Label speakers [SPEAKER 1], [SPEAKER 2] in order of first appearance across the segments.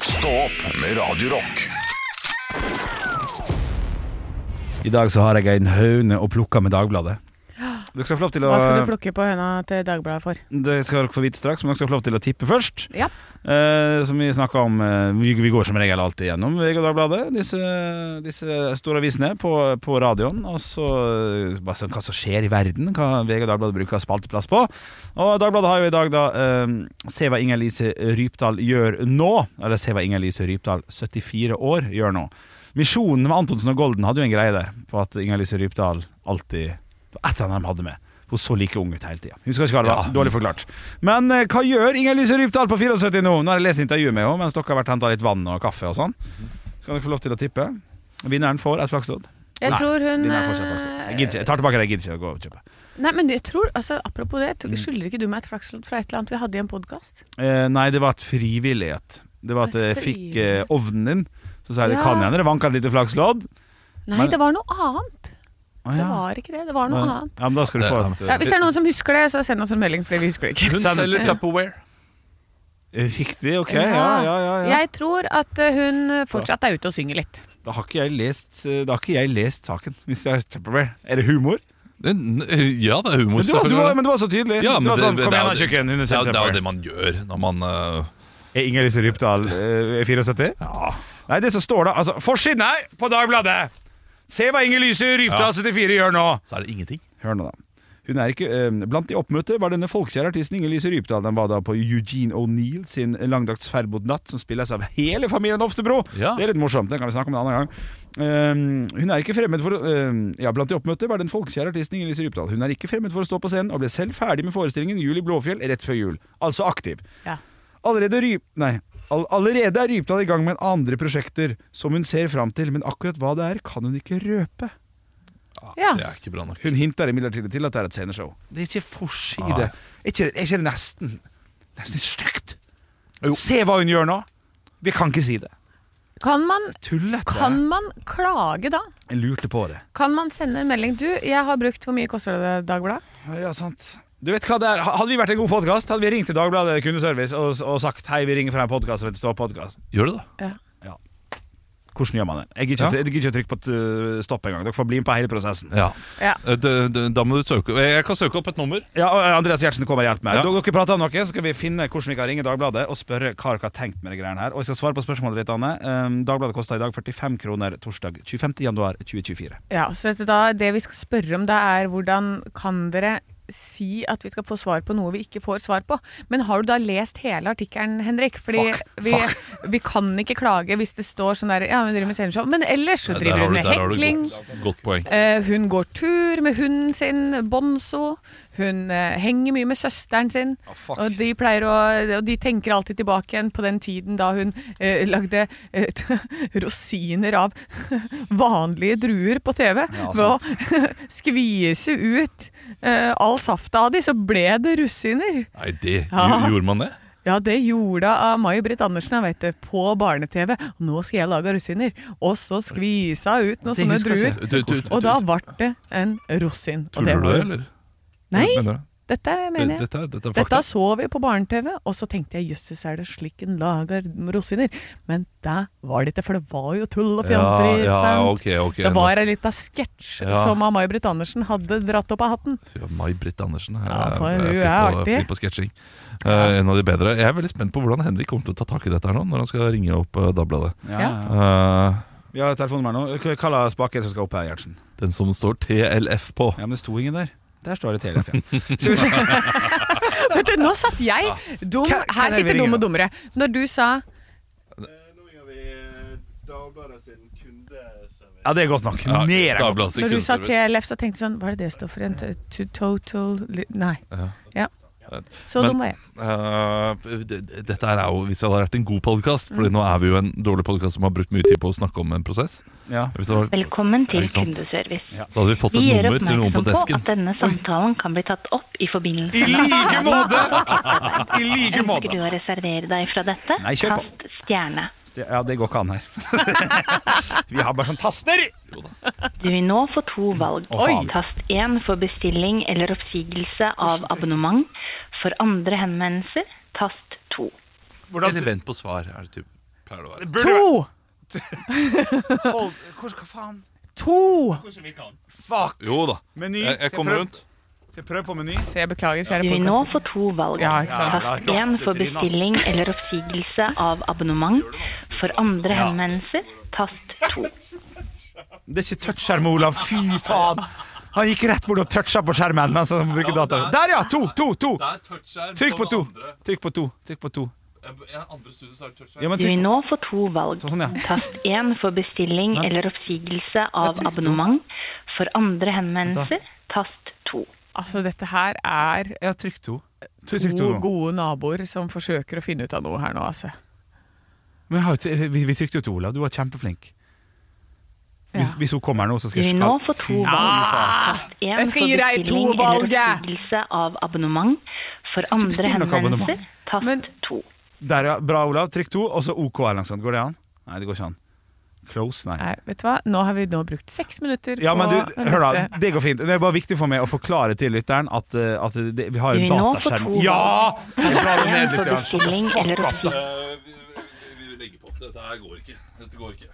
[SPEAKER 1] Stå opp med Radio Rock
[SPEAKER 2] I dag så har jeg en høne å plukke med Dagbladet. Dere skal få lov til å
[SPEAKER 3] Hva skal du plukke på høna til Dagbladet for?
[SPEAKER 2] Det skal dere få vite straks, men dere skal få lov til å tippe først.
[SPEAKER 3] Ja.
[SPEAKER 2] Eh, som vi snakka om eh, vi, vi går som regel alltid gjennom VG og Dagbladet, disse, disse store avisene på, på radioen. Og så eh, bare sånn, hva som skjer i verden, hva VG og Dagbladet bruker spalteplass på. Og Dagbladet har jo i dag da eh, Se hva Inger-Lise Rypdal gjør nå. Eller Se hva Inger-Lise Rypdal, 74 år, gjør nå. Misjonen med Antonsen og Golden hadde jo en greie der på at Inger-Lise Rypdal alltid Det var et eller annet de hadde med. Hun så like ung ut hele tida. Husker ikke hva det var. Dårlig forklart. Men eh, hva gjør Inger-Lise Rypdal på 74 nå? Nå har jeg lest intervjuet med henne mens dere har vært og henta litt vann og kaffe og sånn. Så kan dere få lov til å tippe. Vinneren får et flakslodd.
[SPEAKER 3] Jeg
[SPEAKER 2] Nei,
[SPEAKER 3] tror hun
[SPEAKER 2] Vinneren får seg et flakslodd. Jeg, gidder ikke. jeg tar tilbake det, jeg gidder ikke å gå og kjøpe.
[SPEAKER 3] Nei, men jeg tror, altså Apropos det,
[SPEAKER 2] Mm.
[SPEAKER 3] jeg tror- skylder ikke du meg et flakslodd fra et eller annet vi hadde i en podkast?
[SPEAKER 2] Eh, nei, det var et frivillighet. Det var at
[SPEAKER 3] Et
[SPEAKER 2] jeg fikk eh, ovnen din. Så sa jeg det
[SPEAKER 3] Ja.
[SPEAKER 2] kan hende det vanka et lite flakslodd.
[SPEAKER 3] Nei,
[SPEAKER 2] Men-
[SPEAKER 3] det var noe annet.
[SPEAKER 2] Å,
[SPEAKER 3] Det
[SPEAKER 2] ja.
[SPEAKER 3] var ikke det. Det var noe
[SPEAKER 2] Men-
[SPEAKER 3] annet.
[SPEAKER 2] Ja, men da skal du få
[SPEAKER 3] Ja, hvis det er noen som husker det, så send oss en melding, for vi husker det ikke.
[SPEAKER 4] Hun
[SPEAKER 2] Send-
[SPEAKER 4] selger Tupperware.
[SPEAKER 2] Eh, Riktig, ok. Ja, ja, ja, ja.
[SPEAKER 3] Jeg tror at eh, hun fortsatt er ute og synger litt.
[SPEAKER 2] Da har ikke jeg lest eh, Da har ikke jeg lest saken. Hvis jeg er det humor?
[SPEAKER 4] N- n- Ja, det er humor.
[SPEAKER 2] Men du, var, du
[SPEAKER 4] selvfølgelig.
[SPEAKER 2] var, men du var så tydelig.
[SPEAKER 4] Ja,
[SPEAKER 2] du
[SPEAKER 4] men altså,
[SPEAKER 2] var
[SPEAKER 4] det-
[SPEAKER 2] sånn,
[SPEAKER 4] det-
[SPEAKER 2] Kom
[SPEAKER 4] det
[SPEAKER 2] igjen,
[SPEAKER 4] er
[SPEAKER 2] da,
[SPEAKER 4] jo-
[SPEAKER 2] kjøkken. Hun er
[SPEAKER 4] det er det er jo
[SPEAKER 2] 74.
[SPEAKER 4] det man gjør når man eh,
[SPEAKER 2] Er Inger-Lise Rypdal eh, er 74? Ja. Nei, det som står da altså, Forsiden her på Dagbladet! Se hva Inger-Lise Rypdal 74 gjør nå!
[SPEAKER 4] Så er det ingenting.
[SPEAKER 2] Hør nå, da. Hun er ikke, eh, blant de oppmøtte var denne folkekjære artisten Inger-Lise Rypdal. Den var da på Eugene O'Neill sin langdags ferd mot natt, som spilles av hele familien Oftebro.
[SPEAKER 4] Ja.
[SPEAKER 2] Det er litt morsomt, det kan vi snakke om en annen gang. Eh, hun er ikke fremmed for eh, Ja, blant de oppmøtte var den folkekjære artisten Inger-Lise Rypdal. Hun er ikke fremmed for å stå på scenen, og ble selv ferdig med forestillingen Jul i Blåfjell rett før jul. Altså aktiv.
[SPEAKER 3] Ja.
[SPEAKER 2] Allerede, ryp, nei, all, allerede er Rypdal i gang med andre prosjekter som hun ser fram til, men akkurat hva det er, kan hun ikke røpe.
[SPEAKER 3] Ja.
[SPEAKER 4] Det er ikke bra nok.
[SPEAKER 2] Hun hinter imidlertid til at det er et sceneshow. Det er ikke forside. Er ikke, er ikke det nesten Nesten litt stygt?
[SPEAKER 4] Jo.
[SPEAKER 2] Se hva hun gjør nå! Vi kan ikke si det.
[SPEAKER 3] Kan man,
[SPEAKER 2] Tullete.
[SPEAKER 3] kan man klage da?
[SPEAKER 2] Jeg lurte på det.
[SPEAKER 3] Kan man sende en melding? Du, jeg har brukt Hvor mye koster det, Dagbladet?
[SPEAKER 2] Ja, sant. Du vet hva det er Ha- Hadde vi vært en god podkast, hadde vi ringt til Dagbladet kundeservice og, og sagt Hei, vi ringer fra en podkast som heter Stå-podkast.
[SPEAKER 4] Gjør det, da.
[SPEAKER 3] Ja.
[SPEAKER 2] Hvordan gjør man det? Jeg gidder ikke, jeg gidder ikke å trykke på et øh, stopp engang. Dere får bli med på hele prosessen.
[SPEAKER 4] Ja.
[SPEAKER 3] ja.
[SPEAKER 4] Eh, det- det- Da må du søke Jeg kan søke opp et nummer.
[SPEAKER 2] Ja, og eh, Andreas Gjertsen kommer og hjelper meg.
[SPEAKER 4] Ja.
[SPEAKER 2] Dere dere prater om noe, så skal vi finne hvordan vi kan ringe Dagbladet og spørre hva dere har tenkt med de greiene her. Og jeg skal svare på spørsmålet ditt, Anne. Um, Dagbladet koster i dag 45 kroner torsdag 25. januar 2024.
[SPEAKER 3] Ja, så dette da, Det vi skal spørre om da er hvordan kan dere si at vi skal få svar på noe vi ikke får svar på? Men har du da lest hele artikkelen, Henrik? Fordi
[SPEAKER 2] Fuck,
[SPEAKER 3] vi, vi kan ikke klage hvis det står sånn der Ja, hun driver med sceneshow. Men ellers så
[SPEAKER 4] Der
[SPEAKER 3] driver
[SPEAKER 4] har
[SPEAKER 3] hun
[SPEAKER 4] du-
[SPEAKER 3] med
[SPEAKER 4] der har du
[SPEAKER 3] hekling.
[SPEAKER 4] Godt, godt poeng.
[SPEAKER 3] Eh, hun går tur med hunden sin, Bonzo. Hun eh, henger mye med søsteren sin. og, de pleier å, og de tenker alltid tilbake igjen på den tiden da hun eh, lagde eh, rosiner av vanlige druer på TV.
[SPEAKER 2] Ja, altså.
[SPEAKER 3] ved å skvise ut eh, all safta av de, så ble det rosiner.
[SPEAKER 4] Nei, det
[SPEAKER 3] Ja.
[SPEAKER 4] gj- Gjorde man det?
[SPEAKER 3] Ja, det gjorde av May-Britt Andersen vet du, på barne-TV. Nå skal jeg lage rosiner. Og så skvisa ut noen sånne druer.
[SPEAKER 4] Du- du- du-
[SPEAKER 3] Og da ble det en rosin. Og
[SPEAKER 4] Tuller du
[SPEAKER 3] var-
[SPEAKER 4] det, eller?
[SPEAKER 3] Nei,
[SPEAKER 4] Mener du det?
[SPEAKER 3] dette mener jeg.
[SPEAKER 4] Dette, er- dette er fakta.
[SPEAKER 3] Dette så vi på barne-TV, og så tenkte jeg jøsses, er det slik en lager rosiner? Men det var det ikke, for det var jo tull og fjanteri.
[SPEAKER 4] ja,
[SPEAKER 3] ikke sant?
[SPEAKER 4] ok, ok,
[SPEAKER 3] det
[SPEAKER 4] nå-
[SPEAKER 3] var ei lita sketsj
[SPEAKER 4] Ja.
[SPEAKER 3] som av May-Britt Andersen hadde dratt opp av hatten.
[SPEAKER 4] Ja, May-Britt Andersen. er-
[SPEAKER 3] Ja, for
[SPEAKER 4] er
[SPEAKER 3] hun
[SPEAKER 4] flink
[SPEAKER 3] er
[SPEAKER 4] på-
[SPEAKER 3] artig.
[SPEAKER 4] flink på sketsjing. Eh, en av de bedre. Jeg er veldig spent på hvordan Henrik kommer til å ta tak i dette her nå, når han skal ringe opp eh, Dagbladet.
[SPEAKER 3] Ja.
[SPEAKER 4] Eh,
[SPEAKER 2] Vi har et telefonnummer nå. Hva- Hva slags spake er det som skal opp her, Gjertsen?
[SPEAKER 4] den som står TLF på.
[SPEAKER 2] Ja, men det sto ingen der. Der står det TLF, ja.
[SPEAKER 3] Vet du, nå satt jeg dum
[SPEAKER 2] Kan- kan
[SPEAKER 3] Her
[SPEAKER 2] jeg
[SPEAKER 3] sitter
[SPEAKER 2] ringe
[SPEAKER 3] dum og
[SPEAKER 2] nå?
[SPEAKER 3] dummere. Når du sa
[SPEAKER 5] Eh, Nå ringer vi eh, Dagbladet sin kundeservice.
[SPEAKER 2] ja det er godt nok.
[SPEAKER 4] Ja,
[SPEAKER 2] Mer enn godt.
[SPEAKER 4] Dagbladets
[SPEAKER 3] Når du sa
[SPEAKER 4] kundeservice.
[SPEAKER 3] TLF, så tenkte jeg sånn Hva er det det står for? En t- t- total li- Nei. Ja. Så
[SPEAKER 4] Men-
[SPEAKER 3] dum var jeg.
[SPEAKER 4] Eh, d- d- dette her er jo, hvis det hadde vært en god podkast Fordi
[SPEAKER 3] Mm.
[SPEAKER 4] nå er vi jo en dårlig podkast som har brukt mye tid på å snakke om en prosess.
[SPEAKER 2] Ja.
[SPEAKER 4] Hvis det hadde vært,
[SPEAKER 6] Velkommen
[SPEAKER 4] Ja,
[SPEAKER 6] til
[SPEAKER 4] ikke sant.
[SPEAKER 6] kundeservice.
[SPEAKER 4] så hadde vi fått et
[SPEAKER 6] Vi gjør
[SPEAKER 4] nummer til noen på
[SPEAKER 6] oppmerksom på
[SPEAKER 4] desken.
[SPEAKER 6] at denne samtalen kan bli tatt opp i
[SPEAKER 2] I
[SPEAKER 6] forbindelse med
[SPEAKER 2] like måte! I like
[SPEAKER 6] Ønsker du
[SPEAKER 2] måte.
[SPEAKER 6] å reservere deg fra dette?
[SPEAKER 2] Nei, kjør på.
[SPEAKER 6] Tast stjerne.
[SPEAKER 2] Ja, det går ikke an her. Vi har bare sånn taster!
[SPEAKER 6] Du vil nå få to valg.
[SPEAKER 2] Å, faen.
[SPEAKER 6] Tast 1 for bestilling eller oppsigelse av abonnement. For andre henvendelser, tast 2.
[SPEAKER 2] Hvordan
[SPEAKER 4] Eller vent på svar. Er det typ, pleier det å være.
[SPEAKER 3] To!
[SPEAKER 2] Hold, hvor, hva faen?
[SPEAKER 3] To!
[SPEAKER 2] Fuck!
[SPEAKER 4] Jo da.
[SPEAKER 2] Meny.
[SPEAKER 4] Jeg, jeg kommer
[SPEAKER 2] prøv-
[SPEAKER 4] rundt.
[SPEAKER 2] Skal jeg prøve på meny?
[SPEAKER 3] Så jeg beklager, kjære
[SPEAKER 6] Du vil nå få
[SPEAKER 3] podkast.
[SPEAKER 6] to valg.
[SPEAKER 3] Ja, ikke sant.
[SPEAKER 6] Tast 1 for bestilling eller oppsigelse av abonnement. For andre henvendelser, tast 2.
[SPEAKER 2] Det er ikke touchskjerm, Olav. Fy faen! Han gikk rett bort og toucha på skjermen. mens han bruker
[SPEAKER 4] Ja,
[SPEAKER 2] data.
[SPEAKER 4] det
[SPEAKER 2] Der, ja! To, to, to!
[SPEAKER 4] Det er touchskjerm.
[SPEAKER 2] Trykk på to. Trykk på to. Trykk på to.
[SPEAKER 4] andre studier så er det
[SPEAKER 2] Ja, men
[SPEAKER 6] Du vil
[SPEAKER 2] trykk.
[SPEAKER 6] nå få to valg.
[SPEAKER 2] Sånn, ja.
[SPEAKER 6] Tast 1 for bestilling
[SPEAKER 2] Vent.
[SPEAKER 6] eller oppsigelse
[SPEAKER 2] Jeg
[SPEAKER 6] av
[SPEAKER 2] trykte.
[SPEAKER 6] abonnement. For andre henvendelser, tast 2.
[SPEAKER 3] Altså, dette her er
[SPEAKER 2] Jeg har trykt to. Trykk- Trykk to
[SPEAKER 3] to
[SPEAKER 2] nå.
[SPEAKER 3] gode naboer som forsøker å finne ut av noe her nå, altså.
[SPEAKER 2] Men jeg har, jo t- vi, vi trykte jo to, Olav. Du var kjempeflink.
[SPEAKER 3] Ja.
[SPEAKER 2] Hvis, hvis hun kommer nå, så
[SPEAKER 6] Du
[SPEAKER 2] skal
[SPEAKER 6] vil
[SPEAKER 2] jeg
[SPEAKER 6] nå
[SPEAKER 2] skal-
[SPEAKER 6] få
[SPEAKER 2] Fy
[SPEAKER 6] to valg. Tast 1
[SPEAKER 3] Ah, Jeg skal gi
[SPEAKER 6] for
[SPEAKER 3] deg to
[SPEAKER 6] bestilling eller
[SPEAKER 3] valget.
[SPEAKER 6] oppsigelse av abonnement. For
[SPEAKER 2] ikke
[SPEAKER 6] andre
[SPEAKER 2] bestille noe
[SPEAKER 6] henvendelser,
[SPEAKER 3] Men-
[SPEAKER 6] tast 2.
[SPEAKER 2] Der, ja. Bra, Olav. Trykk to, og så OK eller noe sånt. Går det an? Nei, det går ikke an. Close, nei.
[SPEAKER 3] Nei, vet du hva? Nå har vi nå brukt seks minutter
[SPEAKER 2] Ja, men du,
[SPEAKER 3] på
[SPEAKER 2] hør da,
[SPEAKER 3] dette.
[SPEAKER 2] det går fint. Det er bare viktig for meg å forklare til lytteren at, eh, at det, vi har en
[SPEAKER 6] Vi nå får
[SPEAKER 2] dataskjerm.
[SPEAKER 6] to.
[SPEAKER 2] Ja! Jeg blar ned litt,
[SPEAKER 6] For
[SPEAKER 2] ja.
[SPEAKER 6] bestilling eller oppsigelse.
[SPEAKER 4] vi, legger på. Dette her går ikke. Dette går ikke.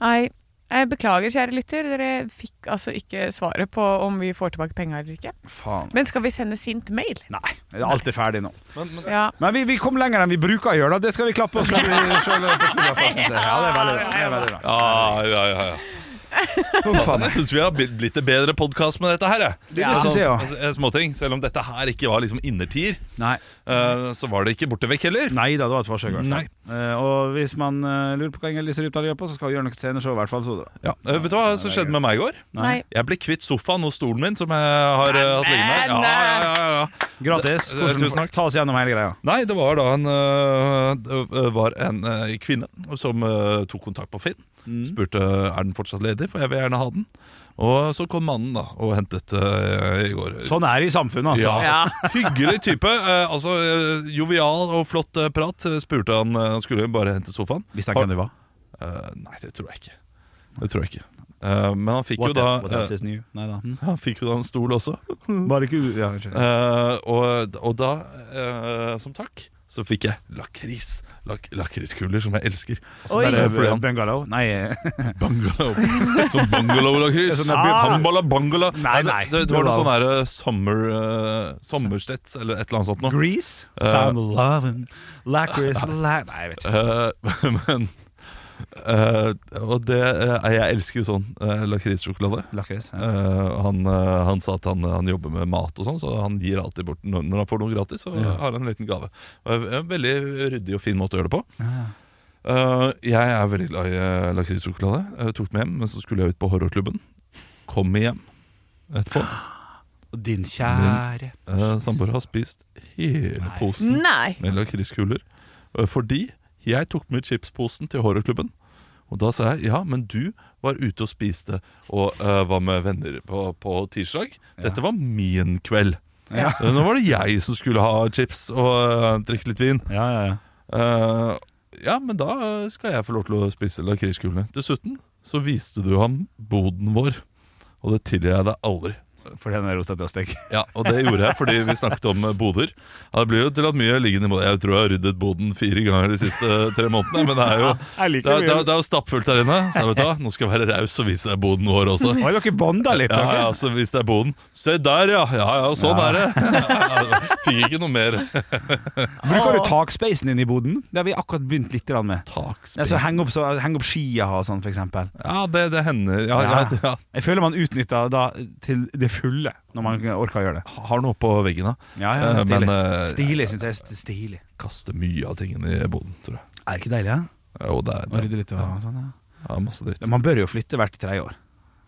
[SPEAKER 3] Nei, jeg beklager, kjære lytter. Dere fikk altså ikke svaret på om vi får tilbake penger eller ikke.
[SPEAKER 2] Faen.
[SPEAKER 3] Men skal vi sende sint mail?
[SPEAKER 2] Nei, alt er ferdig nå.
[SPEAKER 4] Men, men
[SPEAKER 3] Ja.
[SPEAKER 2] Men vi, vi kom lenger enn vi bruker å gjøre, da. Det skal vi klappe oss selv selv på skuldra for. synes jeg. Ja, det er veldig bra. Det er veldig bra.
[SPEAKER 4] Ja, ja, ja, ja.
[SPEAKER 2] Huff a meg.
[SPEAKER 4] Jeg syns vi har blitt blitt en bedre podkast med dette her. Jeg.
[SPEAKER 2] det synes jeg også.
[SPEAKER 4] Altså, Småting. Selv om dette her ikke var liksom innertier,
[SPEAKER 2] Nei.
[SPEAKER 4] eh, så var det ikke borte vekk heller.
[SPEAKER 2] Nei da, det var et forsøk. i hvert fall.
[SPEAKER 4] Nei.
[SPEAKER 2] Eh, og hvis man eh, lurer på hva Inger-Lise Rypdal gjør på, så skal hun gjøre noe sceneshow, i hvert fall. Så da.
[SPEAKER 4] Ja. eh, vet du hva som skjedde med meg i går?
[SPEAKER 3] Nei.
[SPEAKER 4] Jeg ble kvitt sofaen og stolen min, som jeg har eh, hatt liggende. her. Ja, ja, ja, ja, ja.
[SPEAKER 2] Gratis.
[SPEAKER 4] Det- det-
[SPEAKER 2] Hvordan,
[SPEAKER 4] tusen takk.
[SPEAKER 2] ta oss gjennom hele greia.
[SPEAKER 4] Nei, det var da en, øh, det var en øh, kvinne som øh, tok kontakt på Finn.
[SPEAKER 2] Mm.
[SPEAKER 4] Spurte er den fortsatt ledig, for jeg vil gjerne ha den. Og så kom mannen da og hentet øh, i går.
[SPEAKER 2] Sånn er det i samfunnet, altså.
[SPEAKER 4] Ja. Hyggelig type. øh, altså, øh, Jovial og flott øh, prat. Spurte han øh, han skulle bare hente sofaen.
[SPEAKER 2] Visste han hvem du var?
[SPEAKER 4] Eh, nei, det tror jeg ikke. Det tror jeg ikke. Eh, men han fikk, jo
[SPEAKER 2] What
[SPEAKER 4] da,
[SPEAKER 2] else- what else
[SPEAKER 4] eh,
[SPEAKER 2] is new? Nei da. Hm?
[SPEAKER 4] han fikk jo da en stol også.
[SPEAKER 2] Bare ikke du- ja, unnskyld.
[SPEAKER 4] Eh, og, og da, eh, som takk, så fikk jeg lakris. Lak lakriskuler, som jeg elsker.
[SPEAKER 3] Oi.
[SPEAKER 2] Der er
[SPEAKER 4] fordi han-
[SPEAKER 2] Bungalow? Nei, eh,
[SPEAKER 4] Bungalow. Sånn bungalow-lakris.
[SPEAKER 2] Det er sånn der- Ah!
[SPEAKER 4] Bambala bungalow.
[SPEAKER 2] Nei, nei.
[SPEAKER 4] Det, det var noe sånn der eh, summer, eh, sommerstett eller et eller annet sånt noe.
[SPEAKER 2] Grease?
[SPEAKER 4] Eh,
[SPEAKER 2] Sound of lovin', lacquer's la... Nei, jeg vet ikke.
[SPEAKER 4] Eh, men eh, Og det eh, Jeg elsker jo sånn uh, lakrissjokolade.
[SPEAKER 2] Lakris.
[SPEAKER 4] Eh,
[SPEAKER 2] Ja.
[SPEAKER 4] han, eh, han sa at han, han jobber med mat og sånn, så han gir alltid bort når, når han får noe gratis. Så
[SPEAKER 2] Ja.
[SPEAKER 4] har han en liten gave. Og en veldig ryddig og fin måte å gjøre det på. Eh, jeg er veldig glad i uh, lakrisjokolade. Jeg tok med hjem, men så skulle jeg ut på horrorklubben. Kom hjem etterpå.
[SPEAKER 2] Og Din kjære
[SPEAKER 4] Uh, Samboer har spist hele
[SPEAKER 2] Nei.
[SPEAKER 4] posen
[SPEAKER 3] Nei.
[SPEAKER 4] med lakriskuler. Eh, fordi jeg tok med chipsposen til horrorklubben. Og da sa jeg ja, men du var ute og spiste og eh, var med venner på, på tirsdag. Dette var min kveld.
[SPEAKER 2] Ja.
[SPEAKER 4] Eh, Nå var det jeg som skulle ha chips og eh, drikke litt vin.
[SPEAKER 2] Ja, ja, ja.
[SPEAKER 4] Eh, ja, men da eh, skal jeg få lov til å spise lakriskulene. Dessuten så viste du ham boden vår, og det tilgir jeg deg aldri.
[SPEAKER 2] Fordi den er rota til å stikke.
[SPEAKER 4] Ja, og det gjorde jeg fordi vi snakket om eh, boder. Ja, det blir jo til at mye liggende i boden. Jeg tror jeg har ryddet boden fire ganger de siste tre månedene, men det er jo
[SPEAKER 2] Jeg
[SPEAKER 4] det er,
[SPEAKER 2] liker
[SPEAKER 4] det er,
[SPEAKER 2] det.
[SPEAKER 4] det er jo stappfullt der inne. Så jeg vet du hva, nå skal jeg være raus og vise deg boden vår også.
[SPEAKER 2] Oi, dere bonda litt.
[SPEAKER 4] Ja,
[SPEAKER 2] dere.
[SPEAKER 4] ja, så viste jeg boden. Se der, ja! Ja, ja, sånn
[SPEAKER 2] Ja.
[SPEAKER 4] er det. Ja, ja, fikk ikke noe mer.
[SPEAKER 2] Bruker du takspacen din i boden? Det har vi akkurat begynt litt grann med. Ja, så
[SPEAKER 4] Takspis.
[SPEAKER 2] heng opp, så, heng opp skia og sånn, for eksempel.
[SPEAKER 4] Ja, det, det hender. Ja,
[SPEAKER 2] Ja.
[SPEAKER 4] ja, ja.
[SPEAKER 2] Jeg føler man utnytter da til det fulle, når man orker å gjøre det.
[SPEAKER 4] Har noe på veggen, da.
[SPEAKER 2] Ja, ja,
[SPEAKER 4] Eh,
[SPEAKER 2] stilig.
[SPEAKER 4] Men eh,
[SPEAKER 2] Stilig, syns jeg. st- Stilig.
[SPEAKER 4] kaster mye av tingene i boden, tror jeg.
[SPEAKER 2] Er det ikke deilig, ja?
[SPEAKER 4] Jo, det er,
[SPEAKER 2] Å rydde
[SPEAKER 4] det,
[SPEAKER 2] litt og sånn, ja.
[SPEAKER 4] ja, masse dritt.
[SPEAKER 2] Men Man bør jo flytte hvert tredje år,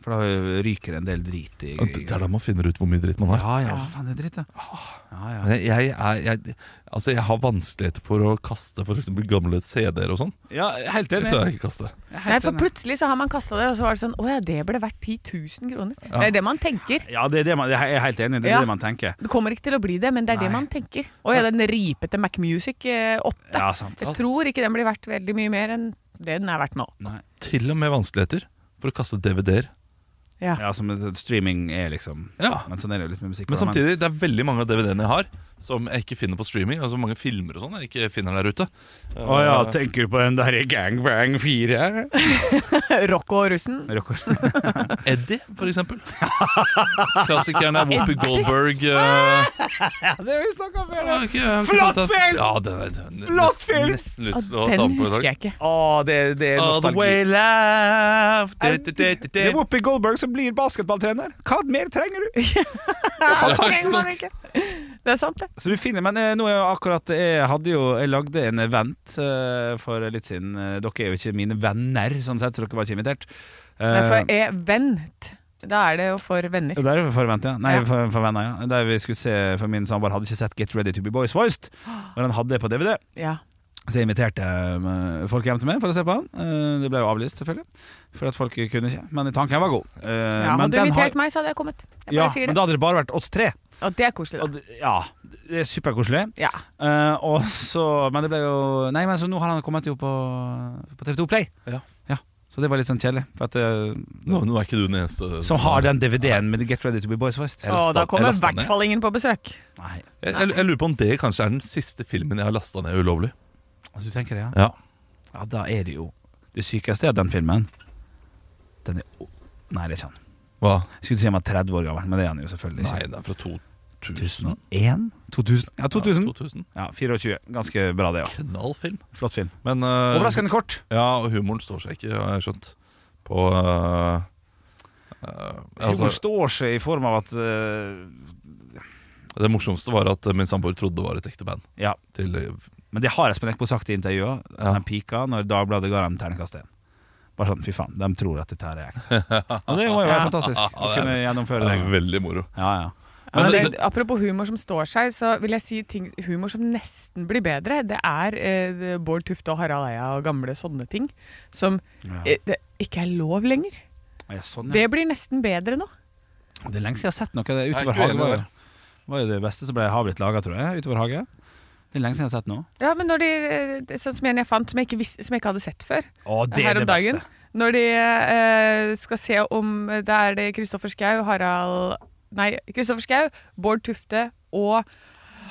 [SPEAKER 2] for da ryker en del drit i
[SPEAKER 4] Ja, Det det er da man finner ut hvor mye dritt man har.
[SPEAKER 2] Ja, ja, Ah. for faen, det er dritt, ja. ja, ja.
[SPEAKER 4] Men Jeg, er, jeg, altså jeg har vanskeligheter for å kaste for eksempel gamle CD-er og sånn.
[SPEAKER 2] Ja, helt
[SPEAKER 4] Det
[SPEAKER 2] enig.
[SPEAKER 4] klarer jeg ikke å kaste.
[SPEAKER 3] Nei, for plutselig så har man kasta det, og så var det sånn Å ja, det ble verdt 10 000 kroner. Det er det man tenker.
[SPEAKER 2] Ja, det er det man, jeg er helt enig. Det er
[SPEAKER 3] Ja.
[SPEAKER 2] det man tenker.
[SPEAKER 3] Det kommer ikke til å bli det, men det er det
[SPEAKER 2] Nei.
[SPEAKER 3] man tenker. Å ja, den ripete Mac Music eh, 8.
[SPEAKER 2] Ja, sant.
[SPEAKER 3] Jeg tror ikke den blir verdt veldig mye mer enn det den er verdt nå.
[SPEAKER 2] Nei.
[SPEAKER 4] Til og med vanskeligheter for å kaste DVD-er.
[SPEAKER 3] Ja.
[SPEAKER 2] Ja, som et- et streaming er, liksom.
[SPEAKER 4] Ja.
[SPEAKER 2] Men sånn er det jo litt med musikk.
[SPEAKER 4] Men
[SPEAKER 2] da,
[SPEAKER 4] samtidig, det er veldig mange av DVD-ene jeg har, som jeg ikke finner på streaming. Altså Mange filmer og sånn jeg ikke finner der ute. Eh,
[SPEAKER 2] Å ja, tenker du på den der i Gangbang 4?
[SPEAKER 3] Rocco og russen.
[SPEAKER 2] Rocker.
[SPEAKER 4] Eddie, for eksempel. Klassikeren er Whoopi Goldberg.
[SPEAKER 2] Ah!
[SPEAKER 4] eh,
[SPEAKER 2] det har vi snakka før!
[SPEAKER 4] ja, ikke, eh,
[SPEAKER 2] Flott
[SPEAKER 4] fortalt at-
[SPEAKER 2] film!
[SPEAKER 4] Ja, den er, den er
[SPEAKER 2] Flott
[SPEAKER 4] nesten-
[SPEAKER 2] film!
[SPEAKER 4] Nesten lyst til å ta
[SPEAKER 3] Den
[SPEAKER 4] den på i
[SPEAKER 3] husker
[SPEAKER 4] dag.
[SPEAKER 3] jeg ikke.
[SPEAKER 2] Å, det, det er
[SPEAKER 4] All the
[SPEAKER 2] nostalgi.
[SPEAKER 4] way left
[SPEAKER 2] Det
[SPEAKER 4] Du, du, du, du,
[SPEAKER 2] er
[SPEAKER 4] du.
[SPEAKER 2] Whoopi Goldberg som blir basketballtrener. Hva mer trenger du?
[SPEAKER 3] Trenger man ikke. Det er sant, det.
[SPEAKER 2] Så du finner, men eh, nå er jo akkurat Jeg hadde jo, jeg lagde en event eh, for litt siden. Eh, Dere er jo ikke mine venner, sånn sett, så dere var ikke invitert. Eh,
[SPEAKER 3] Men for er vent, da er det jo for venner.
[SPEAKER 2] der er vi for vent, ja. Nei,
[SPEAKER 3] Ja.
[SPEAKER 2] for, for venner, ja. Der vi skulle se, for min samboer hadde ikke sett Get Ready To Be Boys Voiced, når han hadde det på DVD.
[SPEAKER 3] Ja.
[SPEAKER 2] Så jeg inviterte eh, folk hjem til meg for å se på han. Eh, Det ble jo avlyst, selvfølgelig. For at folk kunne ikke. Men tanken var god. Eh,
[SPEAKER 3] Ja,
[SPEAKER 2] men
[SPEAKER 3] hadde du
[SPEAKER 2] den har-
[SPEAKER 3] invitert meg, så hadde jeg kommet. Jeg bare
[SPEAKER 2] ja,
[SPEAKER 3] sier
[SPEAKER 2] men
[SPEAKER 3] det.
[SPEAKER 2] da hadde det bare vært oss tre.
[SPEAKER 3] Og det er koselig,
[SPEAKER 2] Og
[SPEAKER 3] da.
[SPEAKER 2] det- Ja, det er superkoselig.
[SPEAKER 3] Ja.
[SPEAKER 2] Eh, og så, men det ble jo Nei, men så nå har han kommet jo på, på TV2 Play.
[SPEAKER 4] Ja.
[SPEAKER 2] Så det var litt sånn kjedelig. For at, eh,
[SPEAKER 4] Nå, nå er ikke du den eneste
[SPEAKER 2] som har den DVD-en med Get Ready To Be Boys First.
[SPEAKER 4] Jeg
[SPEAKER 3] Og
[SPEAKER 4] lastet-
[SPEAKER 3] da
[SPEAKER 4] jeg
[SPEAKER 3] kommer i
[SPEAKER 4] lastet
[SPEAKER 3] hvert
[SPEAKER 4] ned.
[SPEAKER 3] fall ingen på besøk.
[SPEAKER 2] Nei,
[SPEAKER 4] jeg, jeg, jeg lurer på om det kanskje er den siste filmen jeg har lasta ned ulovlig.
[SPEAKER 2] altså, du tenker det, ja.
[SPEAKER 4] Ja
[SPEAKER 2] ja? Da er det jo Det sykeste er at den filmen. Den er o- Nei, det er ikke han.
[SPEAKER 4] Hva?
[SPEAKER 2] Jeg skulle si han var 30 år gammel, men det er han jo selvfølgelig
[SPEAKER 4] Nei,
[SPEAKER 2] ikke.
[SPEAKER 4] den er fra 2000.
[SPEAKER 2] 2001? 2000? Ja, 2000.
[SPEAKER 4] Ja, 2000.
[SPEAKER 2] Ja, 24. Ganske bra, det òg.
[SPEAKER 4] Knallfilm.
[SPEAKER 2] Flott film.
[SPEAKER 4] Men eh,
[SPEAKER 2] Overraskende kort.
[SPEAKER 4] Ja, og humoren står seg ikke, har jeg skjønt. På eh, eh, altså,
[SPEAKER 2] Humoren står seg i form av at eh,
[SPEAKER 4] Det morsomste var at min samboer trodde det var et ekte band.
[SPEAKER 2] Ja.
[SPEAKER 4] Til, eh,
[SPEAKER 2] Men det har Espen Eckbo sagt i intervjuet.
[SPEAKER 4] Ja.
[SPEAKER 2] Den pika når Dagbladet ga dem terningkast én. Bare sånn, fy faen, de tror at dette her er ekte. Og det må jo være fantastisk
[SPEAKER 4] Ja,
[SPEAKER 2] å
[SPEAKER 4] det er-
[SPEAKER 2] kunne gjennomføre
[SPEAKER 4] det
[SPEAKER 2] det.
[SPEAKER 4] er veldig moro.
[SPEAKER 2] Ja, ja.
[SPEAKER 3] Ja,
[SPEAKER 4] Men
[SPEAKER 3] men
[SPEAKER 4] det-
[SPEAKER 3] det, apropos humor som står seg, så vil jeg si ting, humor som nesten blir bedre. Det er eh, det- Bård Tufte og Harald Eia og gamle sånne ting som eh, det ikke er lov lenger.
[SPEAKER 2] Ja, sånn, ja.
[SPEAKER 3] Det blir nesten bedre nå.
[SPEAKER 2] Det, er lenge siden jeg har sett noe. Det
[SPEAKER 4] Jeg er
[SPEAKER 2] utover
[SPEAKER 4] ikke
[SPEAKER 2] hage
[SPEAKER 4] uenig
[SPEAKER 2] var
[SPEAKER 4] der.
[SPEAKER 2] jo, var jo det beste som ble har blitt laga, tror jeg. Utover hage. Det er lenge siden jeg har sett noe.
[SPEAKER 3] Ja, men når de, eh, det- sånn som en jeg fant som jeg ikke, visste, som jeg ikke hadde sett før
[SPEAKER 2] Å, det
[SPEAKER 3] her
[SPEAKER 2] er
[SPEAKER 3] om
[SPEAKER 2] det
[SPEAKER 3] dagen.
[SPEAKER 2] beste.
[SPEAKER 3] Når de eh, skal se om eh, Det er det Kristoffer Schau, Harald Nei, Kristoffer Schau, Bård Tufte og